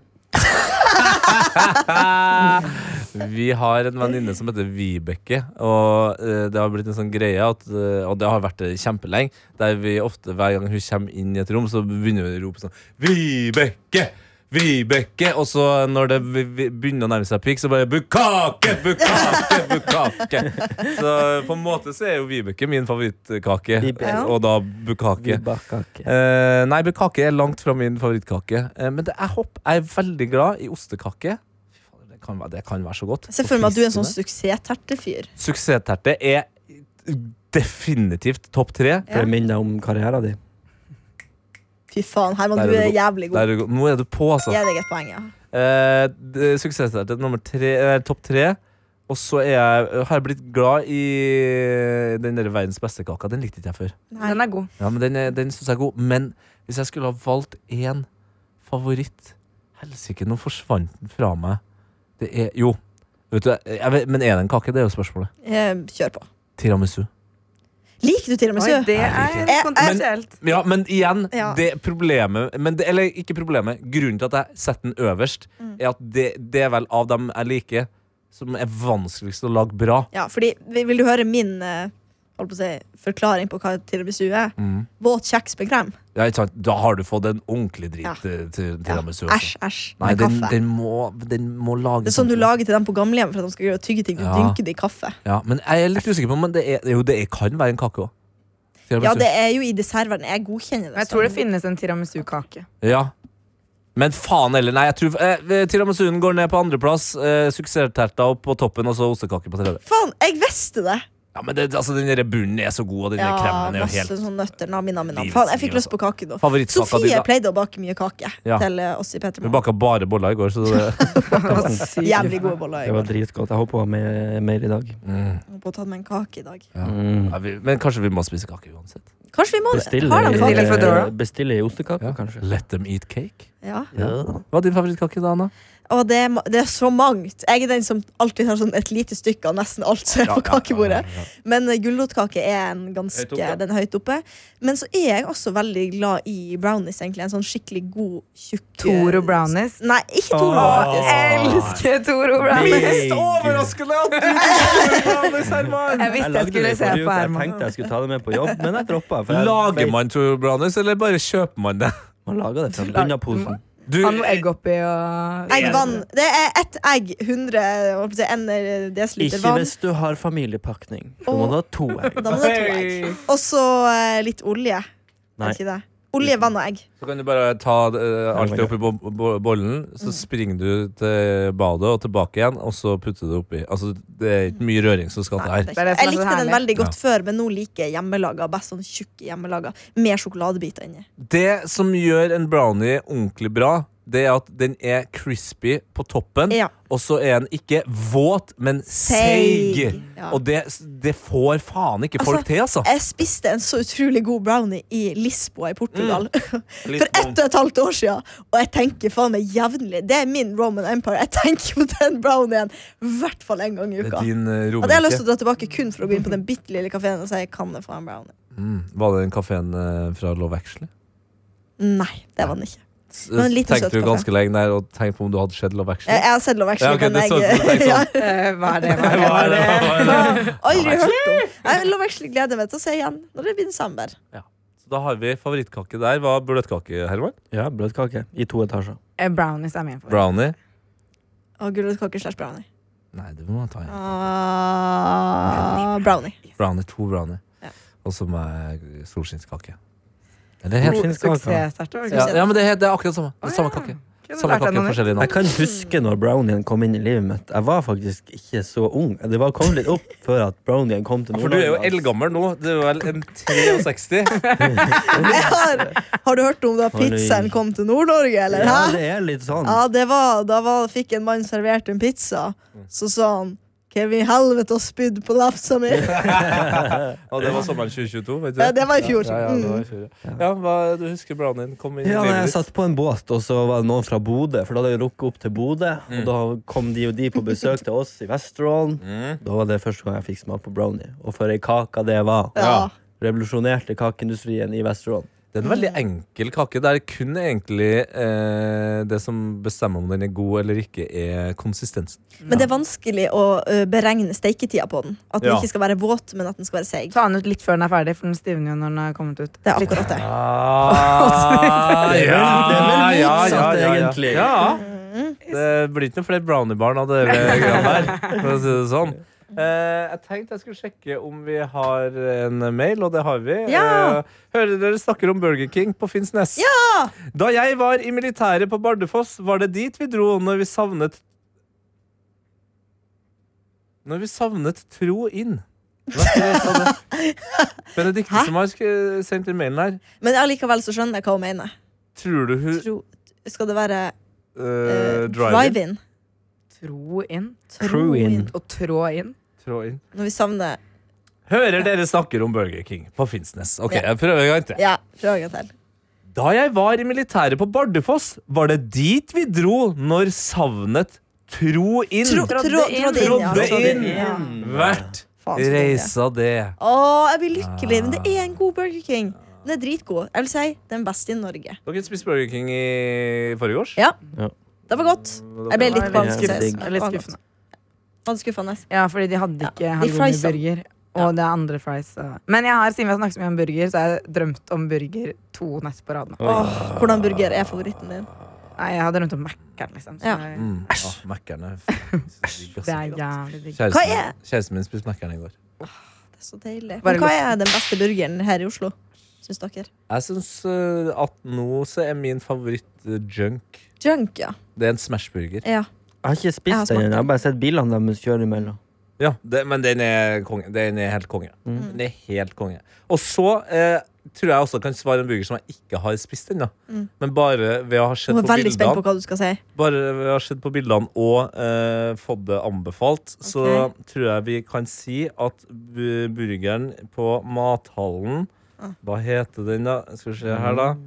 Speaker 2: vi har en venninne som heter Vibeke, og eh, det har blitt en sånn greie, at, eh, og det har vært det kjempelenge, der vi ofte, hver gang hun kommer inn i et rom, så begynner vi å rope sånn Vibeke! Vibeke! Og så når det vi- vi begynner å nærme seg pikk, så bare Bukake! Bukake! Bukake! Så på en måte så er jo Vibeke min favorittkake,
Speaker 4: Vibeke.
Speaker 2: og da Bukake.
Speaker 4: Bukake.
Speaker 2: Eh, nei, men kake er langt fra min favorittkake. Eh, men det er hopp. Jeg er veldig glad i ostekake. Fy faen, Det kan, være, det kan være så godt.
Speaker 3: Se for meg at du er en sånn
Speaker 2: Fristende.
Speaker 3: suksesstertefyr.
Speaker 2: Suksessterte er definitivt topp tre.
Speaker 4: For å minne deg om karrieren din.
Speaker 3: Fy faen, Herman,
Speaker 2: Der er
Speaker 3: du er
Speaker 2: du god.
Speaker 3: jævlig
Speaker 2: Der
Speaker 3: god.
Speaker 2: er du god. Nå er du på, altså.
Speaker 3: Gi deg et poeng, ja.
Speaker 2: Eh, d- Suksessterte nummer tre, eh, topp tre. Og så er jeg, har jeg blitt glad i den der verdens beste kaka. Den likte ikke jeg før.
Speaker 6: Den er god.
Speaker 2: Ja, men Den, er- den syns jeg er god. Men hvis jeg skulle ha valgt én favoritt Helsike, nå forsvant den fra meg. Det er Jo, vet du, jeg vet, men er det en kake? Det er jo spørsmålet.
Speaker 3: Eh, Kjør på.
Speaker 2: Tiramisu.
Speaker 3: Liker du til og med
Speaker 6: Oi,
Speaker 3: sø?
Speaker 6: det er
Speaker 3: jeg-
Speaker 6: kontroversielt.
Speaker 2: Ja, men igjen,
Speaker 3: Ja.
Speaker 2: det problemet men det, Eller ikke problemet. Grunnen til at jeg setter den øverst,
Speaker 3: Mm.
Speaker 2: er at det, det er vel av dem jeg liker, som er vanskeligst å lage bra.
Speaker 3: Ja, fordi vil vil du høre min eh, holdt på å si, forklaring på hva tiramisu er?
Speaker 2: Mm.
Speaker 3: Våt kjeks med krem.
Speaker 2: Ja, ikke sant? Da har du fått en ordentlig drit eh,
Speaker 3: Ja.
Speaker 2: til, til
Speaker 3: Ja.
Speaker 2: tiramisu. også.
Speaker 3: Æsj, æsj.
Speaker 2: Nei,
Speaker 3: Med
Speaker 2: den,
Speaker 3: kaffe.
Speaker 2: den, må, den må lages
Speaker 3: det er sånn du
Speaker 2: ordentlig.
Speaker 3: lager til dem på gamlehjem for at de skal gjøre tygge ting. Du
Speaker 2: Ja.
Speaker 3: dynker det i kaffe.
Speaker 2: Ja, men jeg er litt usikker på Men det, er, jo, det er, kan være en kake også
Speaker 3: Ja,
Speaker 2: Tiramisu.
Speaker 3: det er jo i dessertverden. Jeg godkjenner det.
Speaker 6: Men jeg tror det finnes en tiramisu-kake.
Speaker 2: ja. Men faen heller, nei jeg tror, eh, Tiramisunen går ned på andreplass eh, Suksessterta opp på toppen Og så ostekake på tredje
Speaker 3: Faen, jeg visste det!
Speaker 2: Ja, men det, altså, Den der bunnen er så god, og den der
Speaker 3: Ja,
Speaker 2: kremen er jo
Speaker 3: masse sånn-
Speaker 2: helt
Speaker 3: sånne nøtter. Nami, nami, nami.
Speaker 2: Livets
Speaker 3: Faen, jeg fikk
Speaker 2: liv,
Speaker 3: lyst på kake nå.
Speaker 2: Favorittkaka di,
Speaker 3: Sofie
Speaker 2: da?
Speaker 3: pleide å bake mye kake
Speaker 2: Ja.
Speaker 3: til eh, oss i P3
Speaker 2: Vi baka bare boller i går, så det
Speaker 3: Jævlig gode boller.
Speaker 4: Det
Speaker 3: Jeg
Speaker 4: var dritgodt. Jeg håper hun har mer, mer i dag.
Speaker 3: holdt på å ta med en kake i dag.
Speaker 4: Mm.
Speaker 2: ja, vi, Men kanskje vi må spise kake uansett?
Speaker 3: Kanskje vi må
Speaker 4: Bestille
Speaker 3: Har de
Speaker 6: Bestille
Speaker 3: kake?
Speaker 6: Foodora.
Speaker 4: bestille i ostekake, kanskje.
Speaker 2: Let them eat cake?
Speaker 3: Ja.
Speaker 2: Hva er din favorittkake, da, Anna?
Speaker 3: Og det, er ma- det er så mangt. Jeg er den som alltid tar sånn et lite stykke av nesten alt som er på kakebordet. Men eh, gulrotkake er en ganske
Speaker 2: Høyt oppe, ja.
Speaker 3: den er høyt oppe. Men så er jeg også veldig glad i brownies. egentlig En sånn skikkelig god, tjukk eh,
Speaker 6: Toro brownies.
Speaker 3: Nei, ikke Toro, faktisk.
Speaker 6: Elsker Toro brownies!
Speaker 2: overraskende at du
Speaker 6: Jeg visste jeg skulle se på
Speaker 4: Jeg
Speaker 6: Herman.
Speaker 4: tenkte jeg skulle ta det med på jobb, men jeg droppa. for jeg
Speaker 2: Lager
Speaker 4: vet-
Speaker 2: man Toro Brownies, eller bare kjøper man det?
Speaker 4: Man lager det fra bunnen av posen.
Speaker 2: Du,
Speaker 6: Ha noe egg oppi og
Speaker 3: Egg, vann. Det er ett egg, 100 dl
Speaker 4: Ikke
Speaker 3: eh, vann.
Speaker 4: hvis du har familiepakning. Da må
Speaker 3: Åh.
Speaker 4: du ha to egg.
Speaker 3: Da må det være to egg. Og så eh, litt olje.
Speaker 4: Nei.
Speaker 3: Er ikke det? Olje, vann og egg.
Speaker 2: så kan du bare ta eh, alt det oppi bo bo bollen,
Speaker 3: Mm.
Speaker 2: så springer du til badet og tilbake igjen, og så putter du det oppi. Altså, det er ikke mye røring som skal til her.
Speaker 6: Det er det
Speaker 3: Jeg
Speaker 6: som er så
Speaker 3: likte den
Speaker 6: herlig.
Speaker 3: veldig godt før, men nå liker jeg hjemmelaga best. sånn tjukke hjemmelaga Med sjokoladebiter inni.
Speaker 2: Det som gjør en brownie ordentlig bra, det er at den er crispy på toppen,
Speaker 3: Ja.
Speaker 2: og så er den ikke våt, men seig.
Speaker 3: Seig, ja.
Speaker 2: Og det, det får faen ikke folk til, altså.
Speaker 3: Jeg spiste en så utrolig god brownie i Lisboa i Portugal
Speaker 6: Mm.
Speaker 3: for ett og et halvt år siden. Og jeg tenker faen meg jevnlig. Det er min Roman Empire. Jeg tenker på den brownien i hvert fall en gang i
Speaker 2: Det
Speaker 3: uka.
Speaker 2: er din eh,
Speaker 3: At jeg har lyst
Speaker 2: romerike.
Speaker 3: til å dra tilbake kun for å gå inn på den bitte lille kafeen og si kan jeg få en brownie.
Speaker 2: Mm. Var det den kafeen fra Love Actually?
Speaker 3: Nei, det var den ikke.
Speaker 2: S-
Speaker 3: var en liten søt
Speaker 2: Tenkte du
Speaker 3: kaffe.
Speaker 2: ganske lenge der og tenkte på om du hadde sett Love
Speaker 3: Jeg,
Speaker 2: Actually?
Speaker 3: jeg har sett Love Actually,
Speaker 2: Ja, ok, det
Speaker 3: men
Speaker 2: så ut
Speaker 3: jeg,
Speaker 2: som du tenkte sånn.
Speaker 6: Eh, Hva er det? Hva
Speaker 2: Hva
Speaker 6: er det?
Speaker 2: er det? Hva er det?
Speaker 3: aldri hørt om. Jeg Love Actually gleder meg til å se igjen når det blir desember.
Speaker 2: Så Da har vi favorittkake der. Hva er bløtkake, Herman?
Speaker 4: Ja, brødkake i to etasjer.
Speaker 6: Eh, Brownies er min favoritt.
Speaker 2: Brownie?
Speaker 3: Og gulrotkake slash brownie.
Speaker 2: Nei, det må man ta igjen.
Speaker 3: Ah, brownie.
Speaker 2: Brownie, to brownie.
Speaker 3: Ja.
Speaker 2: Og så med solskinnskake. Eller
Speaker 6: God
Speaker 2: heter det?
Speaker 6: Suksessterter. var det
Speaker 2: Ja,
Speaker 6: ikke det?
Speaker 2: ja, men det, er helt- det er akkurat samme. Det er samme
Speaker 6: Å, ja.
Speaker 2: kake.
Speaker 6: Kunne
Speaker 2: Samme
Speaker 6: lært deg
Speaker 2: kake,
Speaker 6: noe nytt.
Speaker 2: forskjellig
Speaker 4: Jeg
Speaker 2: navn.
Speaker 4: kan huske når brownien kom inn i livet mitt. Jeg var faktisk ikke så ung. Det var kom litt opp før at brownien kom til
Speaker 2: For du er jo
Speaker 4: Nord-Norge.
Speaker 2: eldgammel nå. Du er vel en 63?
Speaker 3: Jeg har, har du hørt om da pizzaen kom til Nord-Norge, eller? Ah.
Speaker 4: Ja,
Speaker 3: Hæ?
Speaker 4: det er litt sånn.
Speaker 3: Ja, det var, da var, fikk en mann servert en pizza. Så sa han Kevin, helvete, og spydd på lefsa mi.
Speaker 2: Og det var sommeren 2022, vet du.
Speaker 3: Ja, det var i fjor.
Speaker 2: Ja, ja, det var i fjor. ja. Ja, hva, du husker brownien kom inn i
Speaker 4: Ja, nei,
Speaker 2: livet
Speaker 4: jeg
Speaker 2: ditt?
Speaker 4: satt på en båt, og så var det noen fra Bodø. For da hadde jeg rukket opp til Bodø,
Speaker 2: Mm.
Speaker 4: og da kom de og de på besøk til oss i Vesterålen.
Speaker 2: Mm.
Speaker 4: Da var det første gang jeg fikk smake på brownie. Og for ei kake det var.
Speaker 3: Ja.
Speaker 4: Revolusjonerte kakeindustrien i Vesterålen.
Speaker 2: Det er en veldig enkel kake. Det er kun egentlig eh, det som bestemmer om den er god eller ikke, er konsistensen.
Speaker 3: Men det er vanskelig å ø, beregne steiketida på den. At den
Speaker 2: Ja.
Speaker 3: ikke skal være våt, men at den skal være seig.
Speaker 6: Ta den ut litt før den er ferdig, for den stivner jo når den er kommet ut.
Speaker 3: Det er akkurat det.
Speaker 2: Ah,
Speaker 4: Altså, Det er vel- det er vel motsatt, egentlig.
Speaker 2: Ja. Det blir ikke noe flere brownie-barn av det greiene der, for å si det sånn. Eh, jeg tenkte jeg skulle sjekke om vi har en mail, og det har vi.
Speaker 3: Ja.
Speaker 2: Eh, hører dere snakker om Burger King på Finnsnes. Da jeg var i militæret på Bardufoss, var det dit vi dro når vi savnet Når vi savnet tro inn. Benedikte som har sk- sendt den mailen her.
Speaker 3: Men allikevel så skjønner jeg hva hun mener.
Speaker 2: Tror du hun
Speaker 3: Tro, skal det være
Speaker 2: Uh,
Speaker 3: ø,
Speaker 2: drive-in.
Speaker 3: drive-in?
Speaker 6: Tro inn
Speaker 4: True-in.
Speaker 6: og trå inn.
Speaker 2: Trå inn.
Speaker 3: Når vi savner
Speaker 2: Hører dere snakker om Burger King på Finnsnes. Ok, jeg prøver en gang til.
Speaker 3: Ja, prøv en gang til.
Speaker 2: Da jeg var i militæret på Bardufoss, var det dit vi dro når savnet tro inn.
Speaker 3: Tro, tro,
Speaker 6: Trådde
Speaker 3: trådde
Speaker 6: inn.
Speaker 3: inn, ja.
Speaker 2: Trodde
Speaker 3: Trådde
Speaker 2: inn.
Speaker 3: ja.
Speaker 2: Hvert
Speaker 3: Faen, så
Speaker 2: reisa det.
Speaker 3: Å, jeg blir lykkelig. Men det er en god Burger King. Den er dritgod. Jeg vil si den beste i Norge.
Speaker 2: Dere spiste Burger King i forgårs?
Speaker 3: Ja.
Speaker 4: Ja.
Speaker 3: Det var godt. Jeg ble litt
Speaker 6: Det var
Speaker 4: litt
Speaker 3: vanskelig.
Speaker 4: skuffende.
Speaker 3: Det var
Speaker 6: Litt
Speaker 3: godt.
Speaker 6: skuffende.
Speaker 3: Var det skuffende.
Speaker 6: Ja, fordi de hadde ikke
Speaker 3: Ja, de friesa.
Speaker 6: halloumiburger. Og det er andre fries. så- Men jeg har, siden vi har snakket så mye om burger, så har jeg drømt om burger to netter på rad nå.
Speaker 3: Åh, hvordan burger er favoritten din?
Speaker 6: Nei, jeg har drømt om Mækkern, liksom. Så
Speaker 3: Ja.
Speaker 6: det-
Speaker 2: Mm. Ah, Mækkerne.
Speaker 6: det er jævlig digg.
Speaker 2: Kjæresten,
Speaker 3: Hva er-
Speaker 2: kjæresten min spiste Mækkern i går.
Speaker 3: Det er så deilig.
Speaker 6: Bare
Speaker 3: Men hva
Speaker 6: godt.
Speaker 3: er den beste burgeren her i Oslo? Syns dere?
Speaker 2: Jeg syns eh, at nå så er min favoritt eh, junk.
Speaker 3: Junk, ja.
Speaker 2: Det er en Smashburger.
Speaker 3: ja.
Speaker 4: Jeg har ikke
Speaker 3: Jeg har
Speaker 4: spist den
Speaker 3: smakt
Speaker 4: ennå. Jeg
Speaker 3: den.
Speaker 4: har bare sett bilene deres kjøre imellom.
Speaker 2: Ja, det, men den er, konge. den er helt konge.
Speaker 3: Mm.
Speaker 2: Den er helt konge. Og så eh, tror jeg også kan svare en burger som jeg ikke har spist ennå. Men bare ved å ha sett
Speaker 3: Nå
Speaker 2: på
Speaker 3: er Mm. jeg veldig spent på
Speaker 2: bildene
Speaker 3: hva du skal si.
Speaker 2: Bare ved å ha sett på bildene og eh, fått det anbefalt, så tror jeg vi kan si at bu- burgeren på mathallen
Speaker 3: Ah.
Speaker 2: Hva heter den, da? Skal vi se her, da.
Speaker 3: Mm.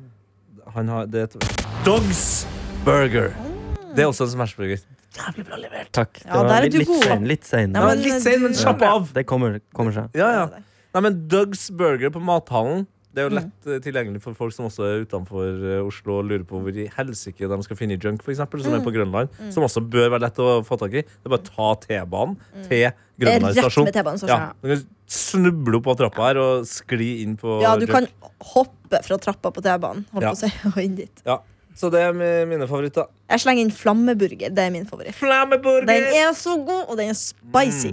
Speaker 2: Han har, det er et Dogs Burger.
Speaker 3: Ah.
Speaker 2: Det er også en Smashburger. Jævlig bra levert.
Speaker 4: Takk. Det
Speaker 3: Ja, der er
Speaker 4: var litt,
Speaker 3: du
Speaker 4: litt
Speaker 3: god.
Speaker 4: sein. Litt sein.
Speaker 3: Nei,
Speaker 4: Ja,
Speaker 3: men
Speaker 2: Litt sein, men
Speaker 3: du-
Speaker 2: slapp av.
Speaker 4: Det kommer, kommer seg.
Speaker 2: Ja, ja. Nei, men Doug's Burger på mathallen Det
Speaker 3: Mm.
Speaker 2: er jo lett eh, tilgjengelig for folk som også er utenfor eh, Oslo og lurer på hvor i helsike de skal finne junk, for eksempel,
Speaker 3: Mm.
Speaker 2: som er på Grønland. Som også bør være lett å få tak i. Det er bare å ta T-banen til Grønland
Speaker 3: Mm. Rett
Speaker 2: stasjon.
Speaker 3: med T-banen
Speaker 2: Ja,
Speaker 3: stasjon.
Speaker 2: du kan snuble opp på trappa her og skli inn på
Speaker 3: Ja, du
Speaker 2: junk.
Speaker 3: kan hoppe fra trappa på T-banen holdt
Speaker 2: Ja.
Speaker 3: på å si, og inn dit.
Speaker 2: Ja. Så det er mi- mine favoritter.
Speaker 3: Jeg slenger inn flammeburger. Det er min favoritt. Den
Speaker 2: Flammeburger!
Speaker 3: er så god, og den er spicy.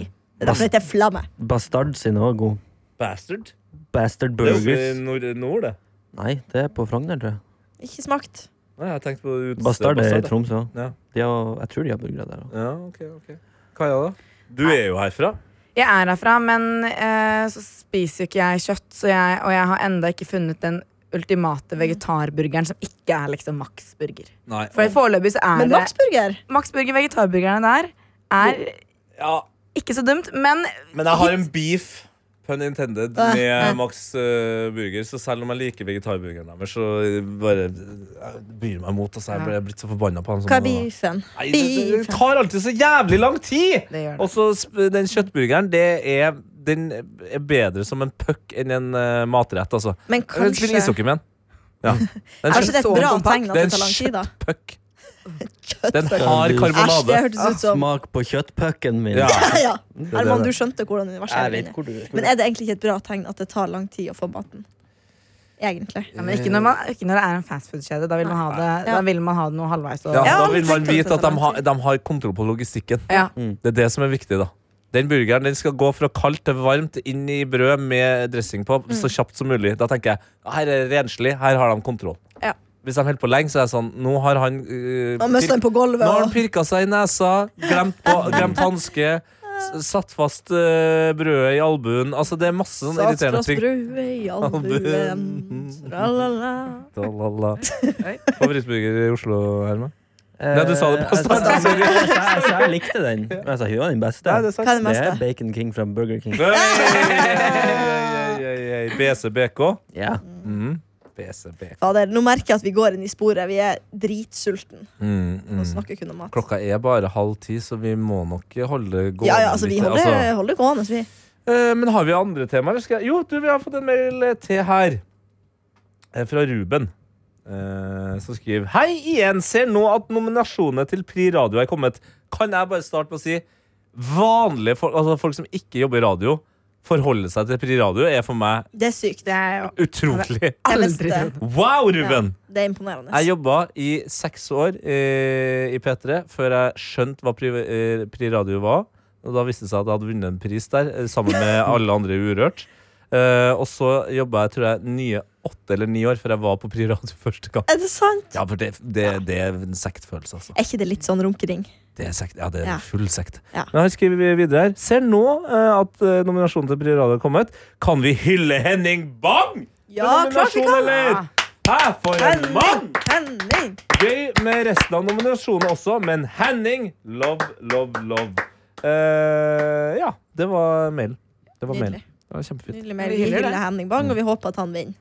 Speaker 2: Mm.
Speaker 3: Det er derfor det heter flamme.
Speaker 4: Bastard sin er også god.
Speaker 2: Bastard.
Speaker 4: Bastard
Speaker 2: Det er jo i
Speaker 4: burgers.
Speaker 2: nord, nord, det.
Speaker 4: Nei, det er på Frogner, tror jeg.
Speaker 3: Ikke smakt.
Speaker 2: Nei, jeg tenkte på utestedet
Speaker 4: Bastard er i
Speaker 2: Bastard,
Speaker 4: Tromsø også.
Speaker 2: Ja.
Speaker 4: De har- Jeg tror de har burgere der òg.
Speaker 2: Ja, ok, ok. Kaja, da? Du er jo herfra.
Speaker 6: Jeg er herfra, men eh, så spiser jo ikke jeg kjøtt, så jeg, og jeg har enda ikke funnet den
Speaker 3: Mm.
Speaker 6: ultimate vegetarburgeren som ikke er liksom Max-burger.
Speaker 2: Nei.
Speaker 6: For foreløpig så er
Speaker 3: Men
Speaker 6: det
Speaker 3: Maxburger
Speaker 6: Max-burger, vegetarburgerne der, er
Speaker 2: Ja,
Speaker 6: ikke så dumt, men
Speaker 2: Men jeg har en beef pun intended
Speaker 3: Ah,
Speaker 2: med
Speaker 3: ah.
Speaker 2: Max eh, Burger, så selv om jeg liker vegetarburgeren deres, så bare jeg byr meg mot. Altså, jeg ble- jeg er blitt så forbanna på han. som-
Speaker 3: Hva er beefen?
Speaker 2: Nei, det, det, det tar alltid så jævlig lang tid!
Speaker 6: Det gjør det.
Speaker 2: Og så sp- den kjøttburgeren, det er den er bedre som en puck enn en eh, matrett, altså.
Speaker 3: Men
Speaker 2: Jeg vil Spille
Speaker 3: kanskje,
Speaker 2: ishockey med den. Ja. Det er
Speaker 3: kanskje det er
Speaker 2: en
Speaker 3: et bra
Speaker 6: kompakt.
Speaker 3: tegn at
Speaker 2: Det er
Speaker 3: det
Speaker 2: en
Speaker 3: tar lang tid, da.
Speaker 2: kjøttpuck.
Speaker 3: Kjøtt.
Speaker 2: Den har
Speaker 3: Æsj, det
Speaker 2: karbonade.
Speaker 3: hørtes ut som
Speaker 4: Ah, Smak på kjøttpucken min.
Speaker 2: Ja.
Speaker 3: Ja, ja.
Speaker 2: er
Speaker 3: Herman,
Speaker 2: det.
Speaker 3: du skjønte hvordan universet
Speaker 4: Jeg
Speaker 3: er.
Speaker 4: vet
Speaker 3: inne.
Speaker 4: hvor du
Speaker 3: Men er det egentlig ikke et bra tegn at det tar lang tid å få maten? Egentlig.
Speaker 6: ja, men ikke, når man, ikke når det er en fastfood-kjede. Da vil man ha det
Speaker 3: Ja.
Speaker 6: Da vil man ha det noe halvveis. Og,
Speaker 2: Ja,
Speaker 3: Ja,
Speaker 2: da vil man
Speaker 3: tenk på det
Speaker 2: vite at de
Speaker 3: sånn.
Speaker 2: har, de har kontroll på logistikken.
Speaker 6: Ja.
Speaker 2: Det er det som er viktig, da. Den burgeren den skal gå fra kaldt til varmt inn i brød med dressing på
Speaker 3: Mm.
Speaker 2: så kjapt som mulig. Da tenker jeg her er det renslig, her har de kontroll.
Speaker 6: Ja.
Speaker 2: Hvis de holder på lenge, så er det sånn Nå har han øh,
Speaker 3: Nå mister
Speaker 2: pir-
Speaker 3: den på gulvet.
Speaker 2: Nå har han
Speaker 3: Og...
Speaker 2: pirka seg i nesa, glemt, på, glemt hanske, s- satt fast øh, brødet i albuen. Altså, det er masse sånn
Speaker 3: Sats fra
Speaker 2: irriterende ting.
Speaker 3: sprue i albuen. Tralala.
Speaker 2: Tralala.
Speaker 6: Oi.
Speaker 2: Favorittburger i Oslo, Herman? Nei, du sa det på
Speaker 4: Eh, Jeg,
Speaker 2: starten.
Speaker 4: jeg, jeg, jeg, jeg likte den. Men jeg sa hun var den beste.
Speaker 2: Nei, det er
Speaker 3: Hva er det
Speaker 4: Det er
Speaker 3: meste?
Speaker 4: Bacon King fra Burger King.
Speaker 2: sant. BCBK.
Speaker 4: Ja.
Speaker 2: Mm. BCBK.
Speaker 3: Fader, nå merker jeg at vi går inn i sporet. Vi er dritsultne
Speaker 2: Mm, mm.
Speaker 3: og snakker kun om mat.
Speaker 2: Klokka er bare halv ti, så vi må nok holde gående
Speaker 3: Ja, ja, altså, vi
Speaker 2: litt.
Speaker 3: holder,
Speaker 2: Altså,
Speaker 3: holder gående. Vi.
Speaker 2: eh, men har vi andre temaer? Skal jeg? Jo, du, vi har fått en mail eh, til her. Eh, Fra Ruben. Eh, som skriver Hei igjen, ser nå at nominasjonene til Pri Radio er kommet. Kan jeg bare starte med å si vanlige folk, altså folk som ikke jobber i radio, forholde seg til Pri Radio er for meg
Speaker 3: Det er sykt.
Speaker 6: Det er jo
Speaker 2: utrolig.
Speaker 3: Det
Speaker 6: aldri
Speaker 3: beste.
Speaker 6: trodd.
Speaker 2: Wow, Ruben!
Speaker 3: Det er imponerende.
Speaker 2: Jeg jobba i seks år eh, i P3 før jeg skjønte hva Pri, eh, pri Radio var. Og da viste det seg at jeg hadde vunnet en pris der, eh, sammen med alle andre i Urørt. Eh, og så jobba jeg tror jeg nye åtte eller ni år før jeg var på Pri Radio første gang.
Speaker 3: Er det sant?
Speaker 2: Ja, for det, det, det er en sektfølelse, altså.
Speaker 3: Er ikke det litt sånn runkering?
Speaker 2: Det er sekt, ja, det er
Speaker 3: Ja.
Speaker 2: full sekt.
Speaker 3: Ja.
Speaker 2: Men han skriver vi videre her. Ser nå eh, at eh, nominasjonen til Pri Radio er kommet. Kan vi hylle Henning Bang?
Speaker 3: Ja,
Speaker 2: For
Speaker 3: klart
Speaker 2: nominasjon,
Speaker 3: vi kan!
Speaker 2: eller? Hæ, for en mann!
Speaker 3: Henning!
Speaker 2: Gøy med resten av nominasjonene også, men Henning, love, love, love. Eh, ja, det var mailen. Det var mailen.
Speaker 3: Nydelig.
Speaker 2: Det var kjempefint.
Speaker 3: Nydelig mail.
Speaker 6: Vi
Speaker 3: Vi
Speaker 6: hyller
Speaker 3: hyller
Speaker 6: det.
Speaker 3: Henning Bang, og vi håper at han vinner.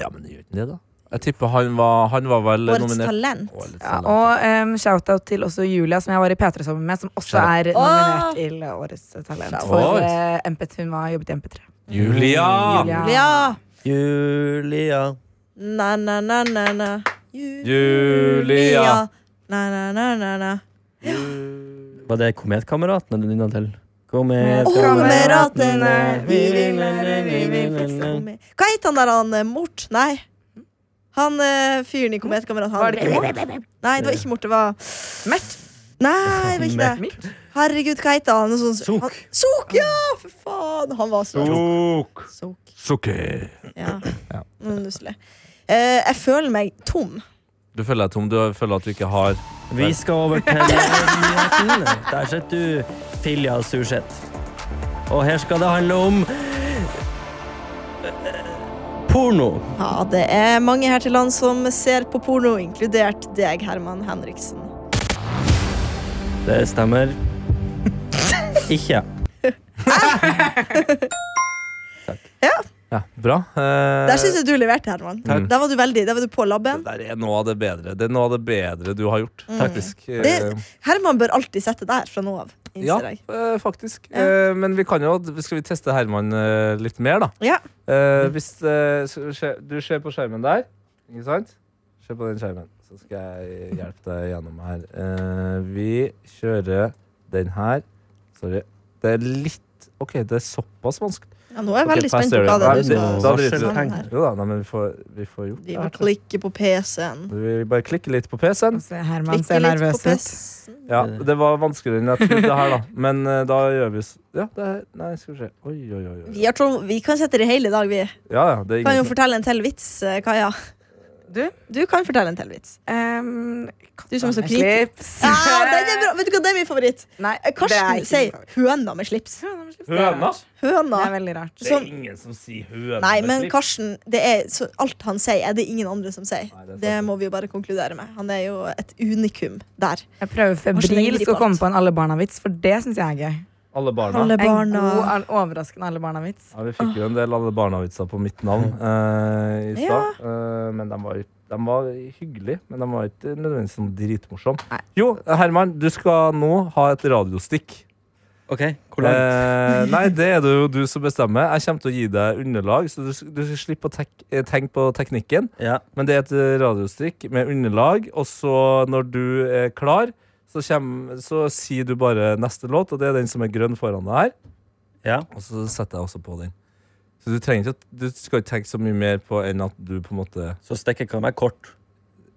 Speaker 2: Ja, men gjør den det, da? Jeg tipper han var, han var vel
Speaker 3: Årets
Speaker 2: nominert.
Speaker 3: talent.
Speaker 2: Årets
Speaker 6: Ja,
Speaker 2: talent.
Speaker 6: og um, shout-out til også Julia, som jeg var i P3 sammen med, som også er nominert til Årets talent. For
Speaker 2: Åh.
Speaker 6: eh, MP3, hun har jobbet i MP3.
Speaker 2: Julia!
Speaker 6: Julia.
Speaker 3: Ja!
Speaker 4: Julia.
Speaker 3: Na, na, na, na, na.
Speaker 2: Julia.
Speaker 3: Na, na, na, na, na.
Speaker 4: Var det Kometkameratene du nynna til? Komet-
Speaker 6: Åh,
Speaker 3: Kameratene, vi vil være, vi vil fikse komi- Hva het han der, han eh, Mort? Nei. Han eh, fyren i Kometkamerat.
Speaker 6: Var det ikke
Speaker 3: Nei, det var ikke Mort. Det var Mert. Nei, det var ikke det.
Speaker 4: Mert.
Speaker 3: Herregud, hva het han? Noe sånn-
Speaker 4: Sok.
Speaker 3: han- Sok, ja! For faen! Han var så
Speaker 2: Tok.
Speaker 3: Sok.
Speaker 2: Sukker.
Speaker 3: Ja.
Speaker 2: Ja.
Speaker 3: Nå er det nusselig. Eh, jeg føler meg tom.
Speaker 2: Du føler deg tom. Du føler at du ikke har
Speaker 4: Vi skal over til nyheten. Der sitter du, Filja Surseth. Og her skal det handle om eh, Porno.
Speaker 3: Ja, det er mange her til land som ser på porno, inkludert deg, Herman Henriksen.
Speaker 4: Det stemmer. Ikke.
Speaker 2: Ja, bra. Eh,
Speaker 3: Der syns jeg du leverte, Herman. Der var du veldig, der var du på labben.
Speaker 2: Mm. det der er noe av det bedre. Det er noe av det bedre du har gjort, faktisk.
Speaker 3: Mm. Det,
Speaker 2: Eh,
Speaker 3: Herman bør alltid sette der fra nå av,
Speaker 2: ja,
Speaker 3: innser jeg.
Speaker 2: eh, faktisk. Eh, men vi kan jo Skal vi teste Herman eh, litt mer, da?
Speaker 3: Ja.
Speaker 2: Eh, hvis eh, så skje- Du ser på skjermen der, ikke sant? Se på den skjermen, så skal jeg hjelpe deg gjennom her. Eh, vi kjører den her. Sorry. Det er litt OK, det er såpass vanskelig.
Speaker 3: ja, nå er jeg
Speaker 2: Ok,
Speaker 3: veldig spent på
Speaker 2: passer
Speaker 3: hva det er
Speaker 2: det.
Speaker 3: du
Speaker 4: Nei,
Speaker 3: skal
Speaker 4: da
Speaker 3: skal
Speaker 4: driter vi.
Speaker 3: sammen her.
Speaker 2: Jo da, nei, men vi får, vi får gjort
Speaker 3: De
Speaker 2: det.
Speaker 3: må
Speaker 2: her.
Speaker 3: klikke på PC-en.
Speaker 2: Vi bare klikker litt på PC-en.
Speaker 6: Se, Herman
Speaker 3: Klikke
Speaker 6: ser
Speaker 3: litt på
Speaker 6: nervøs ut.
Speaker 3: PC-en.
Speaker 2: Ja, det var vanskeligere enn jeg trodde det her, da. Men eh, da gjør vi s- Ja, det er Nei, skal vi se. Oi, oi, oi. oi.
Speaker 3: Vi, har tro- vi kan sette det hele i dag, vi.
Speaker 2: Ja, ja, det er
Speaker 3: Kan jo
Speaker 2: ingen som-
Speaker 3: fortelle en til vits, eh, Kaja.
Speaker 6: Du?
Speaker 3: Du kan fortelle en til vits.
Speaker 6: Um,
Speaker 3: Du som er så
Speaker 6: med
Speaker 3: kritisk.
Speaker 6: slips.
Speaker 3: Ja, den er bra. Vet du hva, det er min favoritt.
Speaker 6: Nei,
Speaker 3: Eh, Karsten
Speaker 6: det
Speaker 3: sier
Speaker 6: er ikke min favoritt.
Speaker 3: 'høna med slips'.
Speaker 6: Høna med slips, det er
Speaker 2: Høna?
Speaker 6: rart. Det er
Speaker 3: Høna.
Speaker 6: veldig rart.
Speaker 3: Som,
Speaker 2: ingen som sier høna.
Speaker 3: nei, men Karsten, det er, så alt han sier, er det ingen andre som sier.
Speaker 2: Nei, det er
Speaker 3: det,
Speaker 2: sant.
Speaker 3: må vi jo bare konkludere med. Han er jo et unikum der.
Speaker 6: Jeg prøver febrilsk å komme på en alle barna-vits, for det syns jeg er gøy.
Speaker 2: Alle barna.
Speaker 3: Alle
Speaker 6: En god,
Speaker 3: barna.
Speaker 6: all- overraskende alle barna-vits.
Speaker 2: Ja, vi fikk jo en del alle barnavitser på mitt navn eh, i stad. Eh, men de var, de var hyggelige, men de var ikke nødvendigvis sånn dritmorsomme. Jo, Herman, du skal nå ha et radiostikk.
Speaker 4: OK, hvor langt?
Speaker 2: Eh, nei, det er det jo du som bestemmer. Jeg kommer til å gi deg underlag, så du, du skal slippe å tek, eh, tenke på teknikken.
Speaker 4: ja.
Speaker 2: Men det er et eh, radiostrikk med underlag, og så når du er klar, så, kjem, så sier du bare neste låt, og det er den som er grønn foran deg her.
Speaker 4: ja.
Speaker 2: Og så setter jeg også på den. Så du, trenger ikke, å- du skal ikke tenke så mye mer på enn at du på en måte
Speaker 4: Så stikker kan være kort.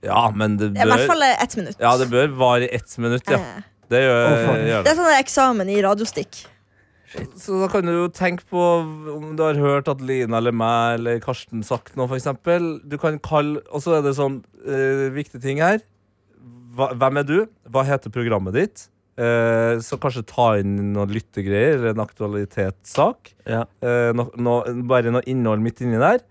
Speaker 2: Ja, men det
Speaker 3: I hvert
Speaker 2: bør
Speaker 3: fall ett minutt.
Speaker 2: Ja, det bør vare i ett minutt, ja.
Speaker 3: Eh,
Speaker 2: Det gjør,
Speaker 4: Å, faen.
Speaker 2: gjør
Speaker 3: Det
Speaker 2: det.
Speaker 3: er sånn eksamen i radiostikk.
Speaker 2: Så da kan du jo tenke på om du har hørt at Lina eller meg eller Karsten sagt noe, for eksempel. Du kan kalle Og så er det sånn eh, viktig ting her. Hva, hvem er du? Hva heter programmet ditt? Eh, så kanskje ta inn noen lyttegreier eller en aktualitetssak.
Speaker 4: Ja.
Speaker 2: Eh, no, no, bare noe innhold midt inni der.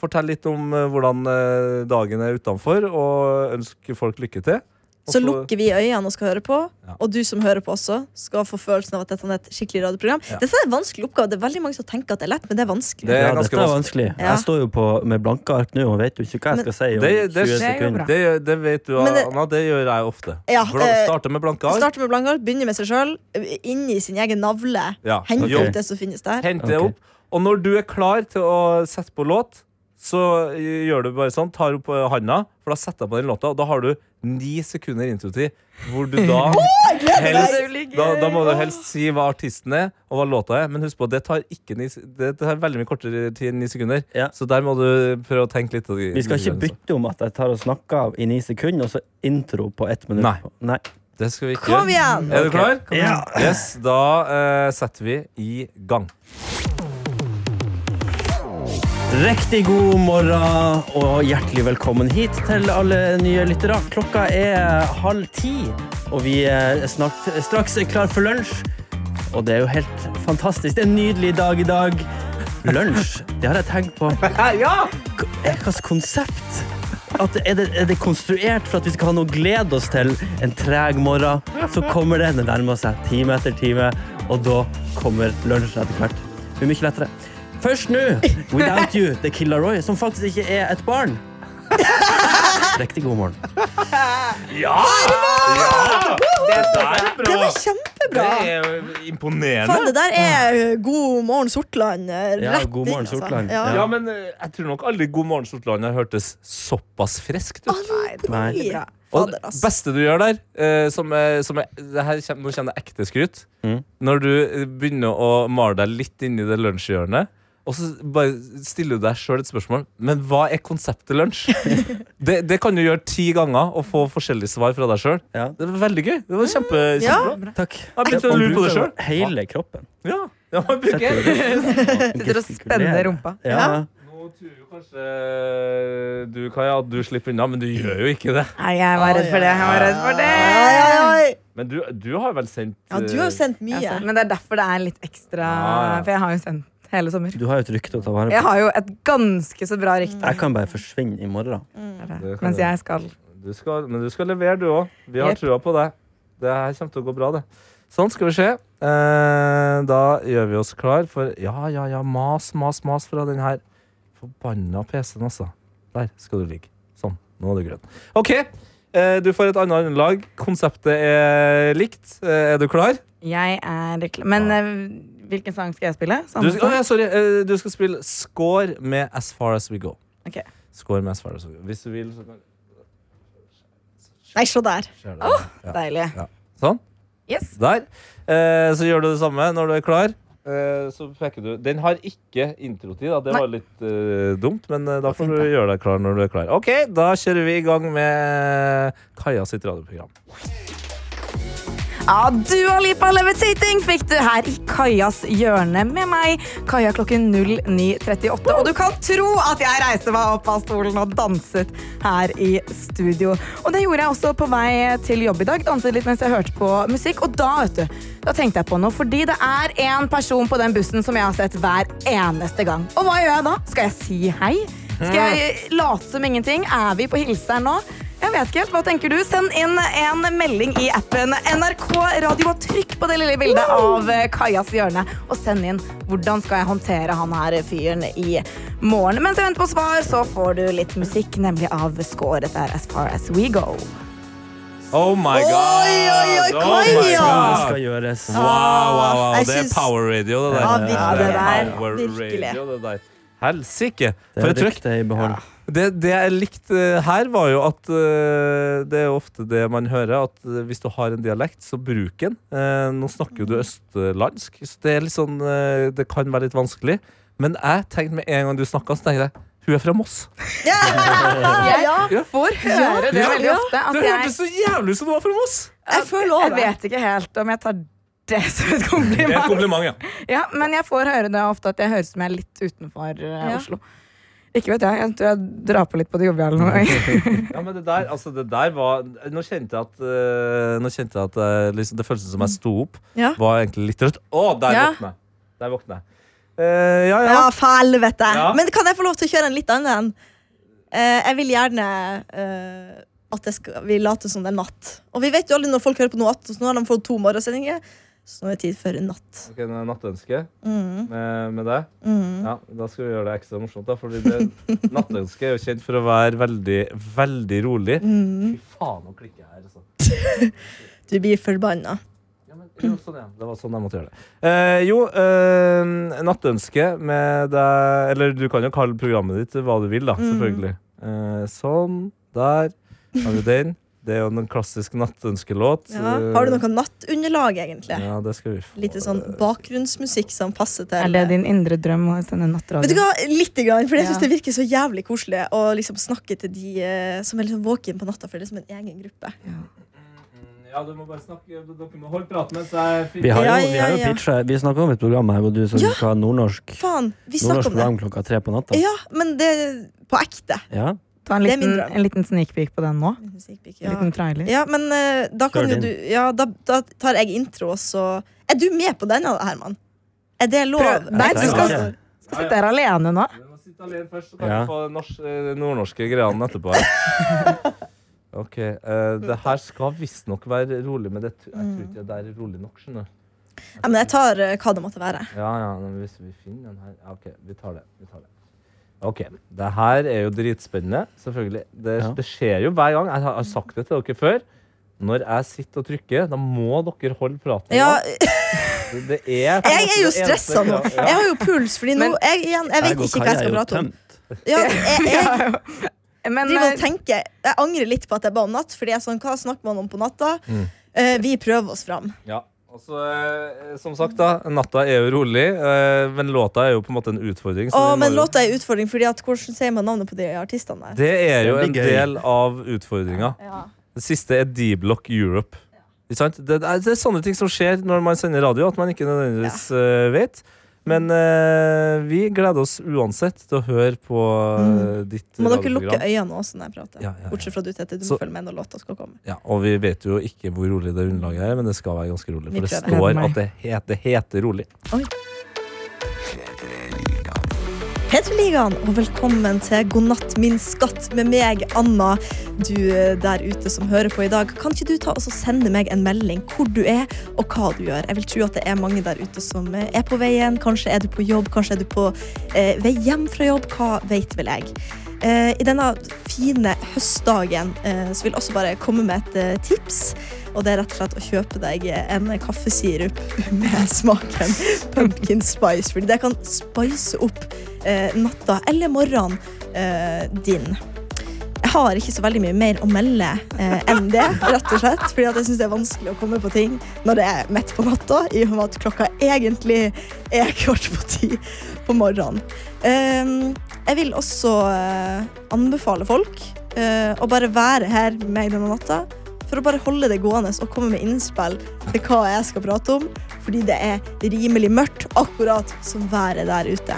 Speaker 2: Fortell litt om eh, hvordan eh, dagen er utenfor, og ønsk folk lykke til. Og
Speaker 3: Så lukker vi øynene og skal høre på,
Speaker 2: Ja.
Speaker 3: og du som hører på også, skal få følelsen av at dette er et skikkelig radioprogram. Dette er en vanskelig oppgave. Det er veldig mange som tenker at det er lett, men det er vanskelig.
Speaker 2: Det er
Speaker 4: ja,
Speaker 2: ganske
Speaker 4: dette er vanskelig.
Speaker 3: Ja.
Speaker 4: Eh, Jeg står jo på med blanke ark nå og vet jo ikke hva jeg skal si om
Speaker 2: Det- det-
Speaker 4: 20
Speaker 6: Det er jo
Speaker 4: sekunder.
Speaker 6: bra.
Speaker 2: Det, gjør- det vet du,
Speaker 3: Men det-
Speaker 2: Anna. Det gjør jeg ofte.
Speaker 3: Ja,
Speaker 2: Hvordan
Speaker 3: eh,
Speaker 2: starte med blanke ark?
Speaker 3: Starte med blank ark, begynne med seg sjøl, inni sin egen navle.
Speaker 2: Ja.
Speaker 3: Hente
Speaker 4: Ok.
Speaker 3: ut det som finnes der.
Speaker 2: Hent det
Speaker 4: Ok.
Speaker 2: opp. Og når du er klar til å sette på låt, så gjør du bare sånn. Tar opp eh, handa, for da setter jeg på den låta, og da har du ni sekunder introtid hvor du da helst da, da må du helst si hva artisten er, og hva låta er. Men husk på, det tar, ikke ni, se- det tar veldig mye kortere tid enn ni sekunder.
Speaker 4: Ja.
Speaker 2: Så der må du prøve å tenke litt.
Speaker 4: Vi skal ikke
Speaker 2: altså.
Speaker 4: bytte om at jeg tar og snakker av i ni sekunder, og så intro på ett minutt.
Speaker 2: Nei.
Speaker 4: Nei.
Speaker 2: Det skal vi ikke gjøre.
Speaker 3: Kom igjen!
Speaker 2: Er du klar?
Speaker 4: Ja.
Speaker 2: Yes, da eh, setter vi i gang.
Speaker 4: Riktig god morgen og hjertelig velkommen hit til alle nye lyttere. Klokka er halv ti, og vi er snart, straks klar for lunsj. Og det er jo helt fantastisk. Det er en nydelig dag i dag. Lunsj, det har jeg tenkt på. K- Hva slags konsept? At er, det, er det konstruert for at vi skal ha noe å glede oss til en treg morgen? Så kommer det, det nærmer seg time etter time, og da kommer lunsjen etter hvert. Det blir mye lettere. Først nå, Without You, The Killer Roy, som faktisk ikke er et barn. Riktig god morgen.
Speaker 3: Det var kjempebra!
Speaker 2: er imponerende.
Speaker 3: Faen, det der er uh, God morgen, Sortland. uh,
Speaker 4: Ja,
Speaker 3: Rett
Speaker 4: God morgen, Sortland.
Speaker 3: Ja.
Speaker 2: Ja, men eh, jeg tror nok aldri God morgen Sortland har hørtes såpass friskt ut.
Speaker 4: Nei.
Speaker 3: Oi.
Speaker 6: bra.
Speaker 2: Og
Speaker 3: Fader,
Speaker 2: det
Speaker 3: ass.
Speaker 2: beste du gjør der, eh, som er, som er det her kjem, Nå kommer det ekte skryt.
Speaker 4: Mm.
Speaker 2: Når du eh, begynner å male deg litt inni det lunsjhjørnet, og så bare stiller du deg sjøl et spørsmål. Men hva er konseptet lunsj? det, det kan du gjøre ti ganger og få forskjellige svar fra deg sjøl.
Speaker 4: Ja.
Speaker 2: Det var veldig gøy. Det var kjempe,
Speaker 3: Ja.
Speaker 2: kjempebra.
Speaker 4: Takk.
Speaker 2: Jeg begynte å
Speaker 4: Man
Speaker 2: lure på det
Speaker 4: bruker jo
Speaker 2: sjøl.
Speaker 4: Hele kroppen.
Speaker 2: Ja. Ja, man bruker
Speaker 6: Sitter og spenner rumpa.
Speaker 4: Ja.
Speaker 2: Nå tror eh, jo kanskje du, Kaja, at du slipper unna, men du gjør jo ikke det.
Speaker 6: Nei, jeg var redd for det. Jeg var redd
Speaker 3: Oi,
Speaker 6: for det.
Speaker 3: oi, oi.
Speaker 2: Men du, du har vel sendt eh,
Speaker 3: Ja, du har jo sendt
Speaker 6: Jeg
Speaker 3: mye.
Speaker 6: har sendt- Men det er derfor det er litt ekstra,
Speaker 2: Ah, ja.
Speaker 6: for jeg har jo sendt hele sommer.
Speaker 4: Du har jo et rykte å ta vare
Speaker 6: Jeg
Speaker 4: på.
Speaker 6: har jo et ganske så bra rykte. eh,
Speaker 4: Jeg kan bare forsvinne i morgen.
Speaker 2: Det kan
Speaker 6: Mens
Speaker 2: du.
Speaker 6: jeg skal
Speaker 2: Du skal, men du skal levere, du òg. Vi har
Speaker 6: Jepp.
Speaker 2: trua på deg. Det her kommer til å gå bra, det. Sånn, skal vi se. Eh, da gjør vi oss klar for Ja, ja, ja, mas, mas, mas fra den her forbanna PC-en, altså. Der skal du ligge. Sånn. Nå er du grønn. OK. eh, du får et annet underlag. Konseptet er likt. Eh, er du klar?
Speaker 6: Jeg er klar. Men eh, hvilken sang skal jeg spille?
Speaker 2: Du
Speaker 6: Samme
Speaker 2: skal,
Speaker 6: sang?
Speaker 2: Å, ja, sorry. eh, du skal spille Score med As Far As We Go.
Speaker 6: Ok.
Speaker 2: Score med As Far As We Go. Hvis du vil, så kan
Speaker 3: Nei, se der.
Speaker 2: skjer det. ja.
Speaker 6: Deilig.
Speaker 2: Sånn.
Speaker 6: Yes.
Speaker 2: Der. Eh, så gjør du det samme når du er klar. Eh, så peker du. Den har ikke introtid, da. det var litt eh, dumt, men eh, da får du gjøre deg klar når du er klar. OK, da kjører vi i gang med eh, Kaja sitt radioprogram.
Speaker 6: Ja, Dua Lipa Levitating fikk du her i Kajas hjørne med meg. Kaja klokken 09.38. Og du kan tro at jeg reiste meg opp av stolen og danset her i studio. Og det gjorde jeg også på vei til jobb i dag. Danset litt mens jeg hørte på musikk. Og da, vet du, da tenkte jeg på noe. Fordi det er en person på den bussen som jeg har sett hver eneste gang. Og hva gjør jeg da? Skal jeg si hei? Skal jeg late som ingenting? Er vi på hilseren nå? Jeg vet ikke helt, Hva tenker du? Send inn en melding i appen NRK Radio. og Trykk på det lille bildet av eh, Kajas hjørne og send inn hvordan skal jeg håndtere han her fyren i morgen. Mens jeg venter på svar, så får du litt musikk, nemlig av Score. Dette er As Far As We Go.
Speaker 2: Oh my god!
Speaker 3: Oi, oi,
Speaker 2: Oh my
Speaker 3: oi, Kaja!
Speaker 4: Det
Speaker 2: god!
Speaker 4: skal gjøres.
Speaker 2: Wow, wow, wow.
Speaker 3: Jeg
Speaker 2: Det er
Speaker 3: syns-
Speaker 2: power radio, det der.
Speaker 3: Ja, virkelig.
Speaker 2: er
Speaker 3: Ja,
Speaker 2: power
Speaker 3: virkelig.
Speaker 2: radio, det der. Helsike,
Speaker 4: Det er
Speaker 2: for et trykk!
Speaker 4: ryktet i behold.
Speaker 2: Det, det jeg likte her, var jo at eh, det er jo ofte det man hører, at eh, hvis du har en dialekt, så bruk den. Eh, nå snakker jo du østlandsk, så det, er litt sånn, eh, det kan være litt vanskelig. Men jeg tenkte med en gang du snakka, så tenkte jeg hun er fra Moss.
Speaker 3: Ja! ja.
Speaker 6: Får høre det
Speaker 2: Ja,
Speaker 6: veldig
Speaker 2: ja.
Speaker 6: ofte. At
Speaker 2: Det
Speaker 6: jeg,
Speaker 2: hørtes så jævlig ut som du var fra Moss!
Speaker 3: Jeg føler
Speaker 6: jeg
Speaker 3: over.
Speaker 6: vet ikke helt om jeg tar det som
Speaker 2: Det er
Speaker 6: et
Speaker 2: et
Speaker 6: kompliment.
Speaker 2: kompliment, ja.
Speaker 6: Ja, men jeg får høre det ofte at jeg høres ut som jeg er litt utenfor eh,
Speaker 3: Ja.
Speaker 6: Oslo. Ikke vet jeg. Jeg tror jeg drar på litt på det joviale nå.
Speaker 2: ja men det der, altså, det der var Nå kjente jeg at, eh, nå kjente jeg at eh, liksom, det føltes som jeg sto opp.
Speaker 3: Ja.
Speaker 2: Var egentlig litt rødt. Å, der
Speaker 3: Ja.
Speaker 2: våkna jeg. Der våkna jeg. Eh, ja, ja.
Speaker 3: Ja, for helvete.
Speaker 2: Ja.
Speaker 3: Men kan jeg få lov til å kjøre en litt annen en? Eh, jeg vil gjerne eh, at jeg skal, vi later som det er natt. Og vi vet jo aldri når folk hører på noe attåt, så nå har de fått to morgensendinger. Så nå er det tid for natt.
Speaker 2: Ok, nå er det nattønske.
Speaker 3: Mm,
Speaker 2: eh, med, med deg.
Speaker 3: mm.
Speaker 2: Ja, da skal vi gjøre det ekstra morsomt. da Fordi det Nattønsket er jo kjent for å være veldig, veldig rolig.
Speaker 3: Mm.
Speaker 2: Fy faen, nå klikker jeg her. Altså.
Speaker 3: Du blir forbanna.
Speaker 2: Ja, men, jo, sånn, ja. Det var sånn jeg måtte gjøre det. Eh, jo, eh, Nattønske med deg Eller du kan jo kalle programmet ditt hva du vil, da.
Speaker 3: Mm.
Speaker 2: Selvfølgelig. Eh, sånn. Der har vi den. Det er jo en klassisk nattønskelåt.
Speaker 3: Ja. eh, Har du noe nattunderlag, egentlig?
Speaker 2: Ja, det skal vi få.
Speaker 3: Litt sånn bakgrunnsmusikk som passer til
Speaker 6: Er det din indre drøm å sende
Speaker 3: Vet du
Speaker 6: nattradio?
Speaker 3: hva, Litt, grann, for jeg
Speaker 6: Ja.
Speaker 3: syns det virker så jævlig koselig å liksom snakke til de eh, som er liksom våken på natta, for det er som en egen gruppe.
Speaker 2: Ja, du må bare snakke. Dere må holde praten mens jeg
Speaker 4: Vi har jo,
Speaker 3: Ja,
Speaker 4: vi har jo
Speaker 3: ja, ja.
Speaker 4: pitcha Vi snakka om et program her hvor du som
Speaker 3: Ja.
Speaker 4: skal ha nordnorsk,
Speaker 3: Faen, vi
Speaker 4: nordnorsk
Speaker 3: snakker om det.
Speaker 4: program klokka tre på natta.
Speaker 3: Ja, men det er på ekte.
Speaker 4: Ja.
Speaker 6: Ta en
Speaker 3: Det er min
Speaker 6: liten,
Speaker 3: drøm.
Speaker 6: en liten sneak peek på den nå. En
Speaker 3: Ja.
Speaker 6: liten trailer.
Speaker 3: Ja, men eh, da kan
Speaker 4: Kjør
Speaker 3: jo
Speaker 4: din.
Speaker 3: du Ja, da, da tar jeg intro, og så Er du med på denne, Herman? Er det lov?
Speaker 6: Prøv- Nei,
Speaker 4: du skal-
Speaker 6: Skal sitte her alene nå.
Speaker 2: Du må sitte alene først, så
Speaker 4: kan Ja. du
Speaker 2: få eh, nordnorske greiene etterpå. ok, eh, Det her skal visstnok være rolig, men det, t- jeg tror ikke det der er rolig nok. skjønner du.
Speaker 3: Ja, men jeg tar eh, hva det måtte være.
Speaker 2: Ja, ja, men hvis vi finner den her ja, OK, vi tar det. vi tar det. Ok, Det her er jo dritspennende, selvfølgelig. Det,
Speaker 4: Ja.
Speaker 2: det skjer jo hver gang. Jeg har- jeg har sagt det til dere før. Når jeg sitter og trykker, da må dere holde praten.
Speaker 3: Ja,
Speaker 2: da. Det, det er på en
Speaker 3: jeg
Speaker 2: måte
Speaker 3: er jo
Speaker 2: det eneste
Speaker 3: stressa nå.
Speaker 2: kravet.
Speaker 3: Jeg har jo puls, fordi nå
Speaker 6: Men-
Speaker 3: Jeg, igjen, jeg vet
Speaker 4: Ergo
Speaker 3: ikke hva jeg
Speaker 4: Kaja er jo
Speaker 3: skal prate om.
Speaker 4: tømt.
Speaker 3: Ja, jeg, jeg,
Speaker 6: Men
Speaker 3: driver og
Speaker 6: eh,
Speaker 3: tenker Jeg angrer litt på at jeg ba om natt, Fordi jeg er sånn, hva snakker man om på natta? Eh, vi prøver oss fram.
Speaker 2: Ja. Og Mm. så, eh, som sagt, da, natta er jo rolig, eh, men låta er jo på en måte en utfordring. så
Speaker 3: Å,
Speaker 2: vi må
Speaker 3: men
Speaker 2: jo-
Speaker 3: låta er en utfordring, Fordi at hvordan sier man navnet på de artistene der?
Speaker 2: Det er jo
Speaker 4: Det
Speaker 2: en
Speaker 4: blir gøy.
Speaker 2: del av utfordringa.
Speaker 3: Ja.
Speaker 2: Det siste er D-Block Europe. Ikke sant? Det, er, det er sånne ting som skjer når man sender radio, at man ikke nødvendigvis eh, vet. Men eh, vi gleder oss uansett til å høre på eh, ditt
Speaker 3: Mm. Må dere
Speaker 2: radioprogram.
Speaker 3: lukke øynene også når jeg prater?
Speaker 2: Ja, ja, ja.
Speaker 3: Bortsett fra du, Tete. Du
Speaker 2: Så-
Speaker 3: må følge med når låta skal komme.
Speaker 2: Ja, og vi vet jo ikke hvor rolig det underlaget er, men det skal være ganske rolig.
Speaker 3: Vi
Speaker 2: For det
Speaker 3: prøver.
Speaker 2: står at det heter, det heter rolig.
Speaker 3: P3-ligaen, og velkommen til God natt, min skatt, med meg, Anna. Du eh, der ute som hører på i dag, kan ikke du ta og så sende meg en melding hvor du er, og hva du gjør? Jeg vil tro at det er mange der ute som eh, er på veien. Kanskje er du på jobb, kanskje er du på eh, vei hjem fra jobb. Hva vet vel jeg? Eh, I denne fine høstdagen eh, så vil jeg også bare komme med et eh, tips. Og det er rett og slett å kjøpe deg eh, en kaffesirup med smaken pumpkin spice. Fordi det kan spice opp eh, natta eller morgenen eh, din. Jeg har ikke så veldig mye mer å melde eh, enn det, rett og slett. Fordi at jeg syns det er vanskelig å komme på ting når det er midt på natta, i og med at klokka egentlig er kvart på ti på morgenen. Ehm, jeg vil også eh, anbefale folk eh, å bare være her med meg denne natta. For å bare holde det gående og komme med innspill til hva jeg skal prate om. Fordi det er rimelig mørkt, akkurat som været der ute.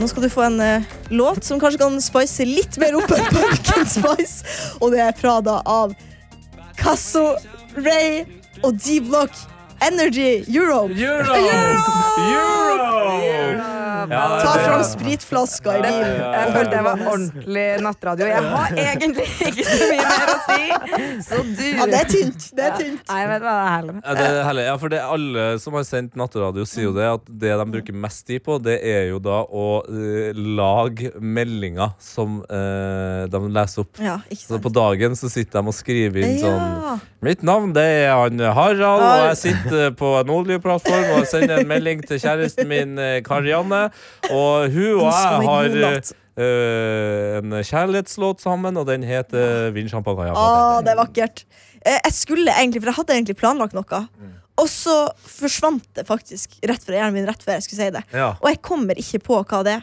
Speaker 3: Nå skal du få en eh, låt som kanskje kan spice litt mer opp enn Pumpkin Spice. Og det er Prada av Casso, Ray og D-Block Energy Euro.
Speaker 2: Euro! Ja,
Speaker 3: Ta
Speaker 2: det-
Speaker 3: fram spritflaska i
Speaker 6: Jeg,
Speaker 3: bilen.
Speaker 6: jeg følte jeg var ordentlig nattradio. Jeg har egentlig ikke så mye mer å si, så du
Speaker 3: Ja, det er tynt. Det er tynt.
Speaker 6: Nei, vet du hva, det er herlig.
Speaker 2: Ja, det er herlig. Ja, for det er alle som har sendt natteradio, sier jo det at det de bruker mest tid på, det er jo da å eh, lage meldinger som eh, de leser opp.
Speaker 3: Ja, ikke
Speaker 2: Så
Speaker 3: sant.
Speaker 2: på dagen så sitter de og skriver inn sånn
Speaker 3: Ja.
Speaker 2: Mitt navn det er han eh, Harald, og jeg sitter eh, på en oljeplattform og sender en melding til kjæresten min eh, Karianne. Og hun og
Speaker 3: Ønsker
Speaker 2: jeg
Speaker 3: meg
Speaker 2: har
Speaker 3: god
Speaker 2: eh,
Speaker 3: natt.
Speaker 2: eh, en kjærlighetslåt sammen, og den heter Vinsjampanje.
Speaker 3: Å, det er vakkert. Eh, Jeg skulle egentlig, for jeg hadde egentlig planlagt noe.
Speaker 2: Mm.
Speaker 3: Og så forsvant det faktisk rett fra hjernen min rett før jeg skulle si det.
Speaker 2: Ja.
Speaker 3: Og jeg kommer ikke på hva det er.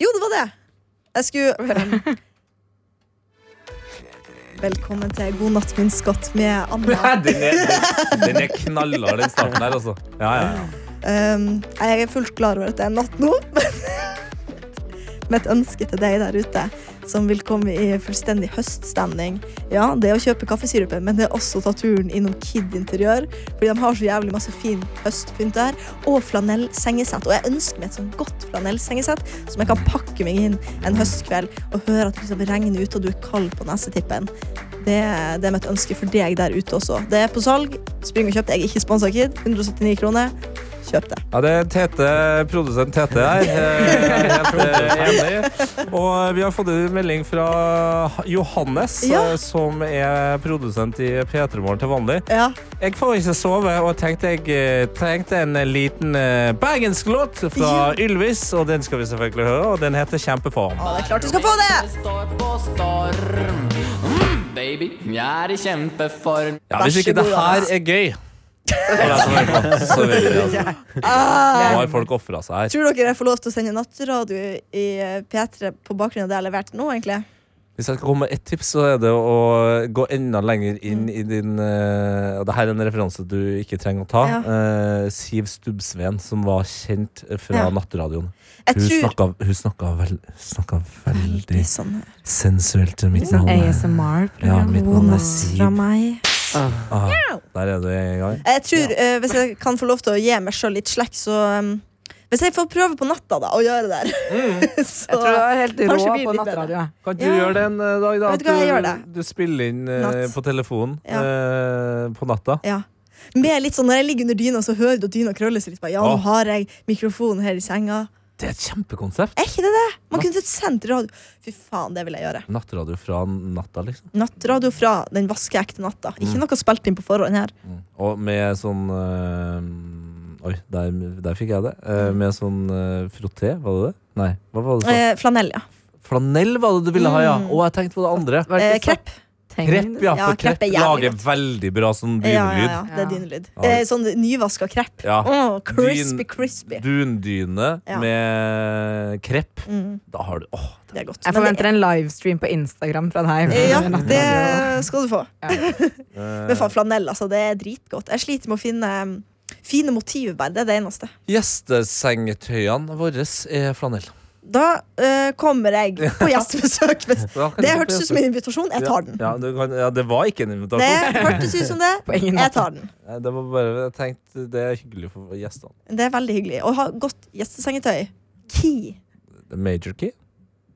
Speaker 3: Jo, det var det! Jeg skulle Velkommen til God natt, min skatt, med Anna.
Speaker 2: Den er, den er knallhard, den starten der, altså. Ja, ja, ja.
Speaker 3: Um, jeg er fullt klar over at det er natt nå, men med et ønske til deg der ute som vil komme i fullstendig høststemning. Ja, det er å kjøpe kaffesirupen, men det er også å ta turen innom Kid Interiør, fordi de har så jævlig masse fin høstpynt der, og flanellsengesett. Og jeg ønsker meg et sånt godt flanellsengesett som jeg kan pakke meg inn en høstkveld og høre at det liksom regner ute, og du er kald på nesetippen. Det, det er mitt ønske for deg der ute også. Det er på salg. Spring og kjøp det. Jeg er ikke sponsa Kid. 179 kroner. Kjøp det.
Speaker 2: Ja, det er Tete, produsent Tete her. Eh, Helt eh, enig. Og vi har fått en melding fra Johannes,
Speaker 3: Ja.
Speaker 2: eh, som er produsent i P3 Morgen til vanlig.
Speaker 3: Ja.
Speaker 2: Jeg får ikke sove, og tenkte jeg eh, trengte en liten eh, bergensk låt fra Ylvis, og den skal vi selvfølgelig høre, og den heter Kjempeform.
Speaker 3: Ja, det er klart du skal få det!
Speaker 5: Det står på storm. Mm, baby, jeg er i kjempeform.
Speaker 2: Ja, hvis
Speaker 3: Vær så
Speaker 2: ikke det
Speaker 3: god,
Speaker 2: her
Speaker 3: Johannes.
Speaker 2: er gøy, for deg som hører på, så vil jeg altså. Nå har folk ofra seg her.
Speaker 3: Tror dere jeg får lov til å sende nattradio i eh, P3 på bakgrunn av det jeg har levert nå, egentlig?
Speaker 2: Hvis jeg skal komme med ett tips, så er det å gå enda
Speaker 3: Mm.
Speaker 2: lenger inn i din uh, Det her er en referanse du ikke trenger å ta.
Speaker 3: Ja.
Speaker 2: Eh, Siv Stubbsveen, som var kjent fra
Speaker 3: Ja.
Speaker 2: Nattradioen.
Speaker 3: Jeg
Speaker 2: Hun
Speaker 3: tror
Speaker 2: snakka, hun snakka, vel, snakka veldig
Speaker 3: Det er sånn
Speaker 2: sensuelt til mitt
Speaker 6: Sånn
Speaker 2: navn. er-
Speaker 6: ASMR.
Speaker 2: Ja, mitt navn er
Speaker 3: fra
Speaker 2: Siv.
Speaker 3: meg.
Speaker 2: Ah, der er du i gang.
Speaker 3: Jeg tror, eh, Hvis jeg kan få lov til å gi meg sjøl litt slekk, så um, Hvis jeg får prøve på natta, da, å gjøre det der så,
Speaker 6: Jeg tror du var helt
Speaker 3: Kanskje
Speaker 6: rå
Speaker 3: blir
Speaker 6: på
Speaker 3: litt bedre.
Speaker 6: nattradio. jeg.
Speaker 2: Kan ikke
Speaker 3: Ja.
Speaker 2: du gjøre det en eh, dag, da?
Speaker 3: Vet du hva, jeg gjør
Speaker 2: du, du spiller inn eh,
Speaker 3: Natt.
Speaker 2: på telefonen
Speaker 3: Ja.
Speaker 2: eh, på natta.
Speaker 3: Ja. Med litt sånn, Når jeg ligger under dyna, så hører du at dyna krøller seg litt. Bare, ja, nå
Speaker 2: Åh.
Speaker 3: har jeg mikrofonen her i senga.
Speaker 2: Det er et kjempekonsept.
Speaker 3: Er ikke det det? Man kunne sendt radio. Fy faen, det vil jeg gjøre.
Speaker 2: Nattradio fra natta, liksom.
Speaker 3: Nattradio fra den vaskeekte natta. Ikke noe spilt inn på forhånd her.
Speaker 2: Og med sånn eh, Oi, der, der fikk jeg det. Eh, med sånn uh, frotté, var det det? Nei, hva var det sånn?
Speaker 3: Mm. Eh, flanell, ja.
Speaker 2: Flanell var det du ville ha, ja. Og jeg tenkte på det andre.
Speaker 6: Var det
Speaker 3: Eh,
Speaker 6: ikke
Speaker 3: krepp.
Speaker 6: satt-
Speaker 2: Krepp, ja.
Speaker 3: Ja,
Speaker 2: For
Speaker 3: krepp
Speaker 2: krepp
Speaker 3: er jævlig
Speaker 2: lager
Speaker 3: godt.
Speaker 2: veldig bra sånn
Speaker 3: Ja, ja, ja,
Speaker 2: dynelyd.
Speaker 3: det er dynelyd.
Speaker 2: Ja.
Speaker 3: Eh, sånn nyvaska krepp.
Speaker 2: Ja.
Speaker 3: Åh, crispy,
Speaker 2: Dyn-
Speaker 3: crispy.
Speaker 2: Dundyne
Speaker 3: Ja.
Speaker 2: med krepp.
Speaker 3: Mm,
Speaker 2: Da har du Åh,
Speaker 3: det er godt.
Speaker 6: Jeg
Speaker 3: Men det-
Speaker 6: forventer en livestream på Instagram fra deg.
Speaker 3: Eh, Ja, det skal du få.
Speaker 2: eh,
Speaker 3: Men faen, flanell, altså. Det er dritgodt. Jeg sliter med å finne Fine motiver, bare. Det er det eneste.
Speaker 2: Eh, Gjestesengetøyene våre er flanell.
Speaker 3: Da eh, kommer jeg på gjestebesøk. hvis-
Speaker 2: Da kan
Speaker 3: Det
Speaker 2: du-
Speaker 3: hørtes ut som en invitasjon. Jeg tar den.
Speaker 2: Ja, du kan, ja, det var ikke en invitasjon.
Speaker 3: Det hørtes ut som det.
Speaker 6: På ingen måte.
Speaker 3: Jeg tar den.
Speaker 2: Nei, Det var bare, jeg tenkte, det er hyggelig for gjestene.
Speaker 3: Det er veldig hyggelig. Og ha godt gjestesengetøy. Key.
Speaker 2: Major Key?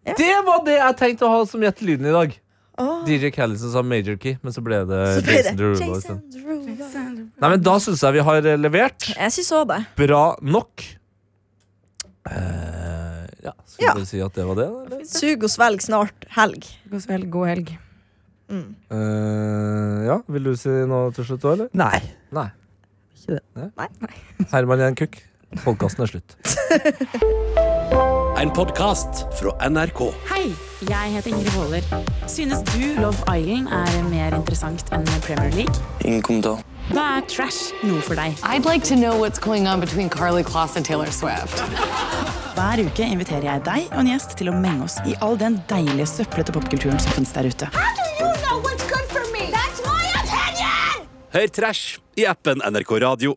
Speaker 3: Ja.
Speaker 2: Det var det jeg tenkte å ha som gjett lyden i dag.
Speaker 3: Åh.
Speaker 2: DJ Callison sa Major Key, men så ble det
Speaker 3: Så blir
Speaker 2: Jason
Speaker 3: det
Speaker 2: Derulo. liksom.
Speaker 3: Jason
Speaker 2: isteden.
Speaker 3: Derulo.
Speaker 2: Nei, men Da syns jeg vi har eh, levert
Speaker 3: Jeg syns òg det.
Speaker 2: bra nok. Eh, ja, skal
Speaker 3: Ja.
Speaker 2: vi si at det var det? Eller?
Speaker 3: Sug og svelg snart helg.
Speaker 6: God helg. God helg.
Speaker 3: Mm.
Speaker 2: Eh, ja, Vil du si noe til slutt òg, eller?
Speaker 4: Nei.
Speaker 2: Nei.
Speaker 4: Ikke det.
Speaker 2: Herman Jan Kukk, podkasten er slutt.
Speaker 1: En podkast fra NRK.
Speaker 7: Hei, jeg heter Ingrid Waaler. Synes du Love Island er mer interessant enn Premier League? Ingen kommentar. Da er trash noe for deg.
Speaker 8: I'd like to know what's going on between Carly Kloss and Taylor Swift.
Speaker 7: Hver uke inviterer jeg deg og en gjest til å menge oss i all den deilige søplete popkulturen som finnes der ute.
Speaker 1: Hør Trash i appen NRK Radio.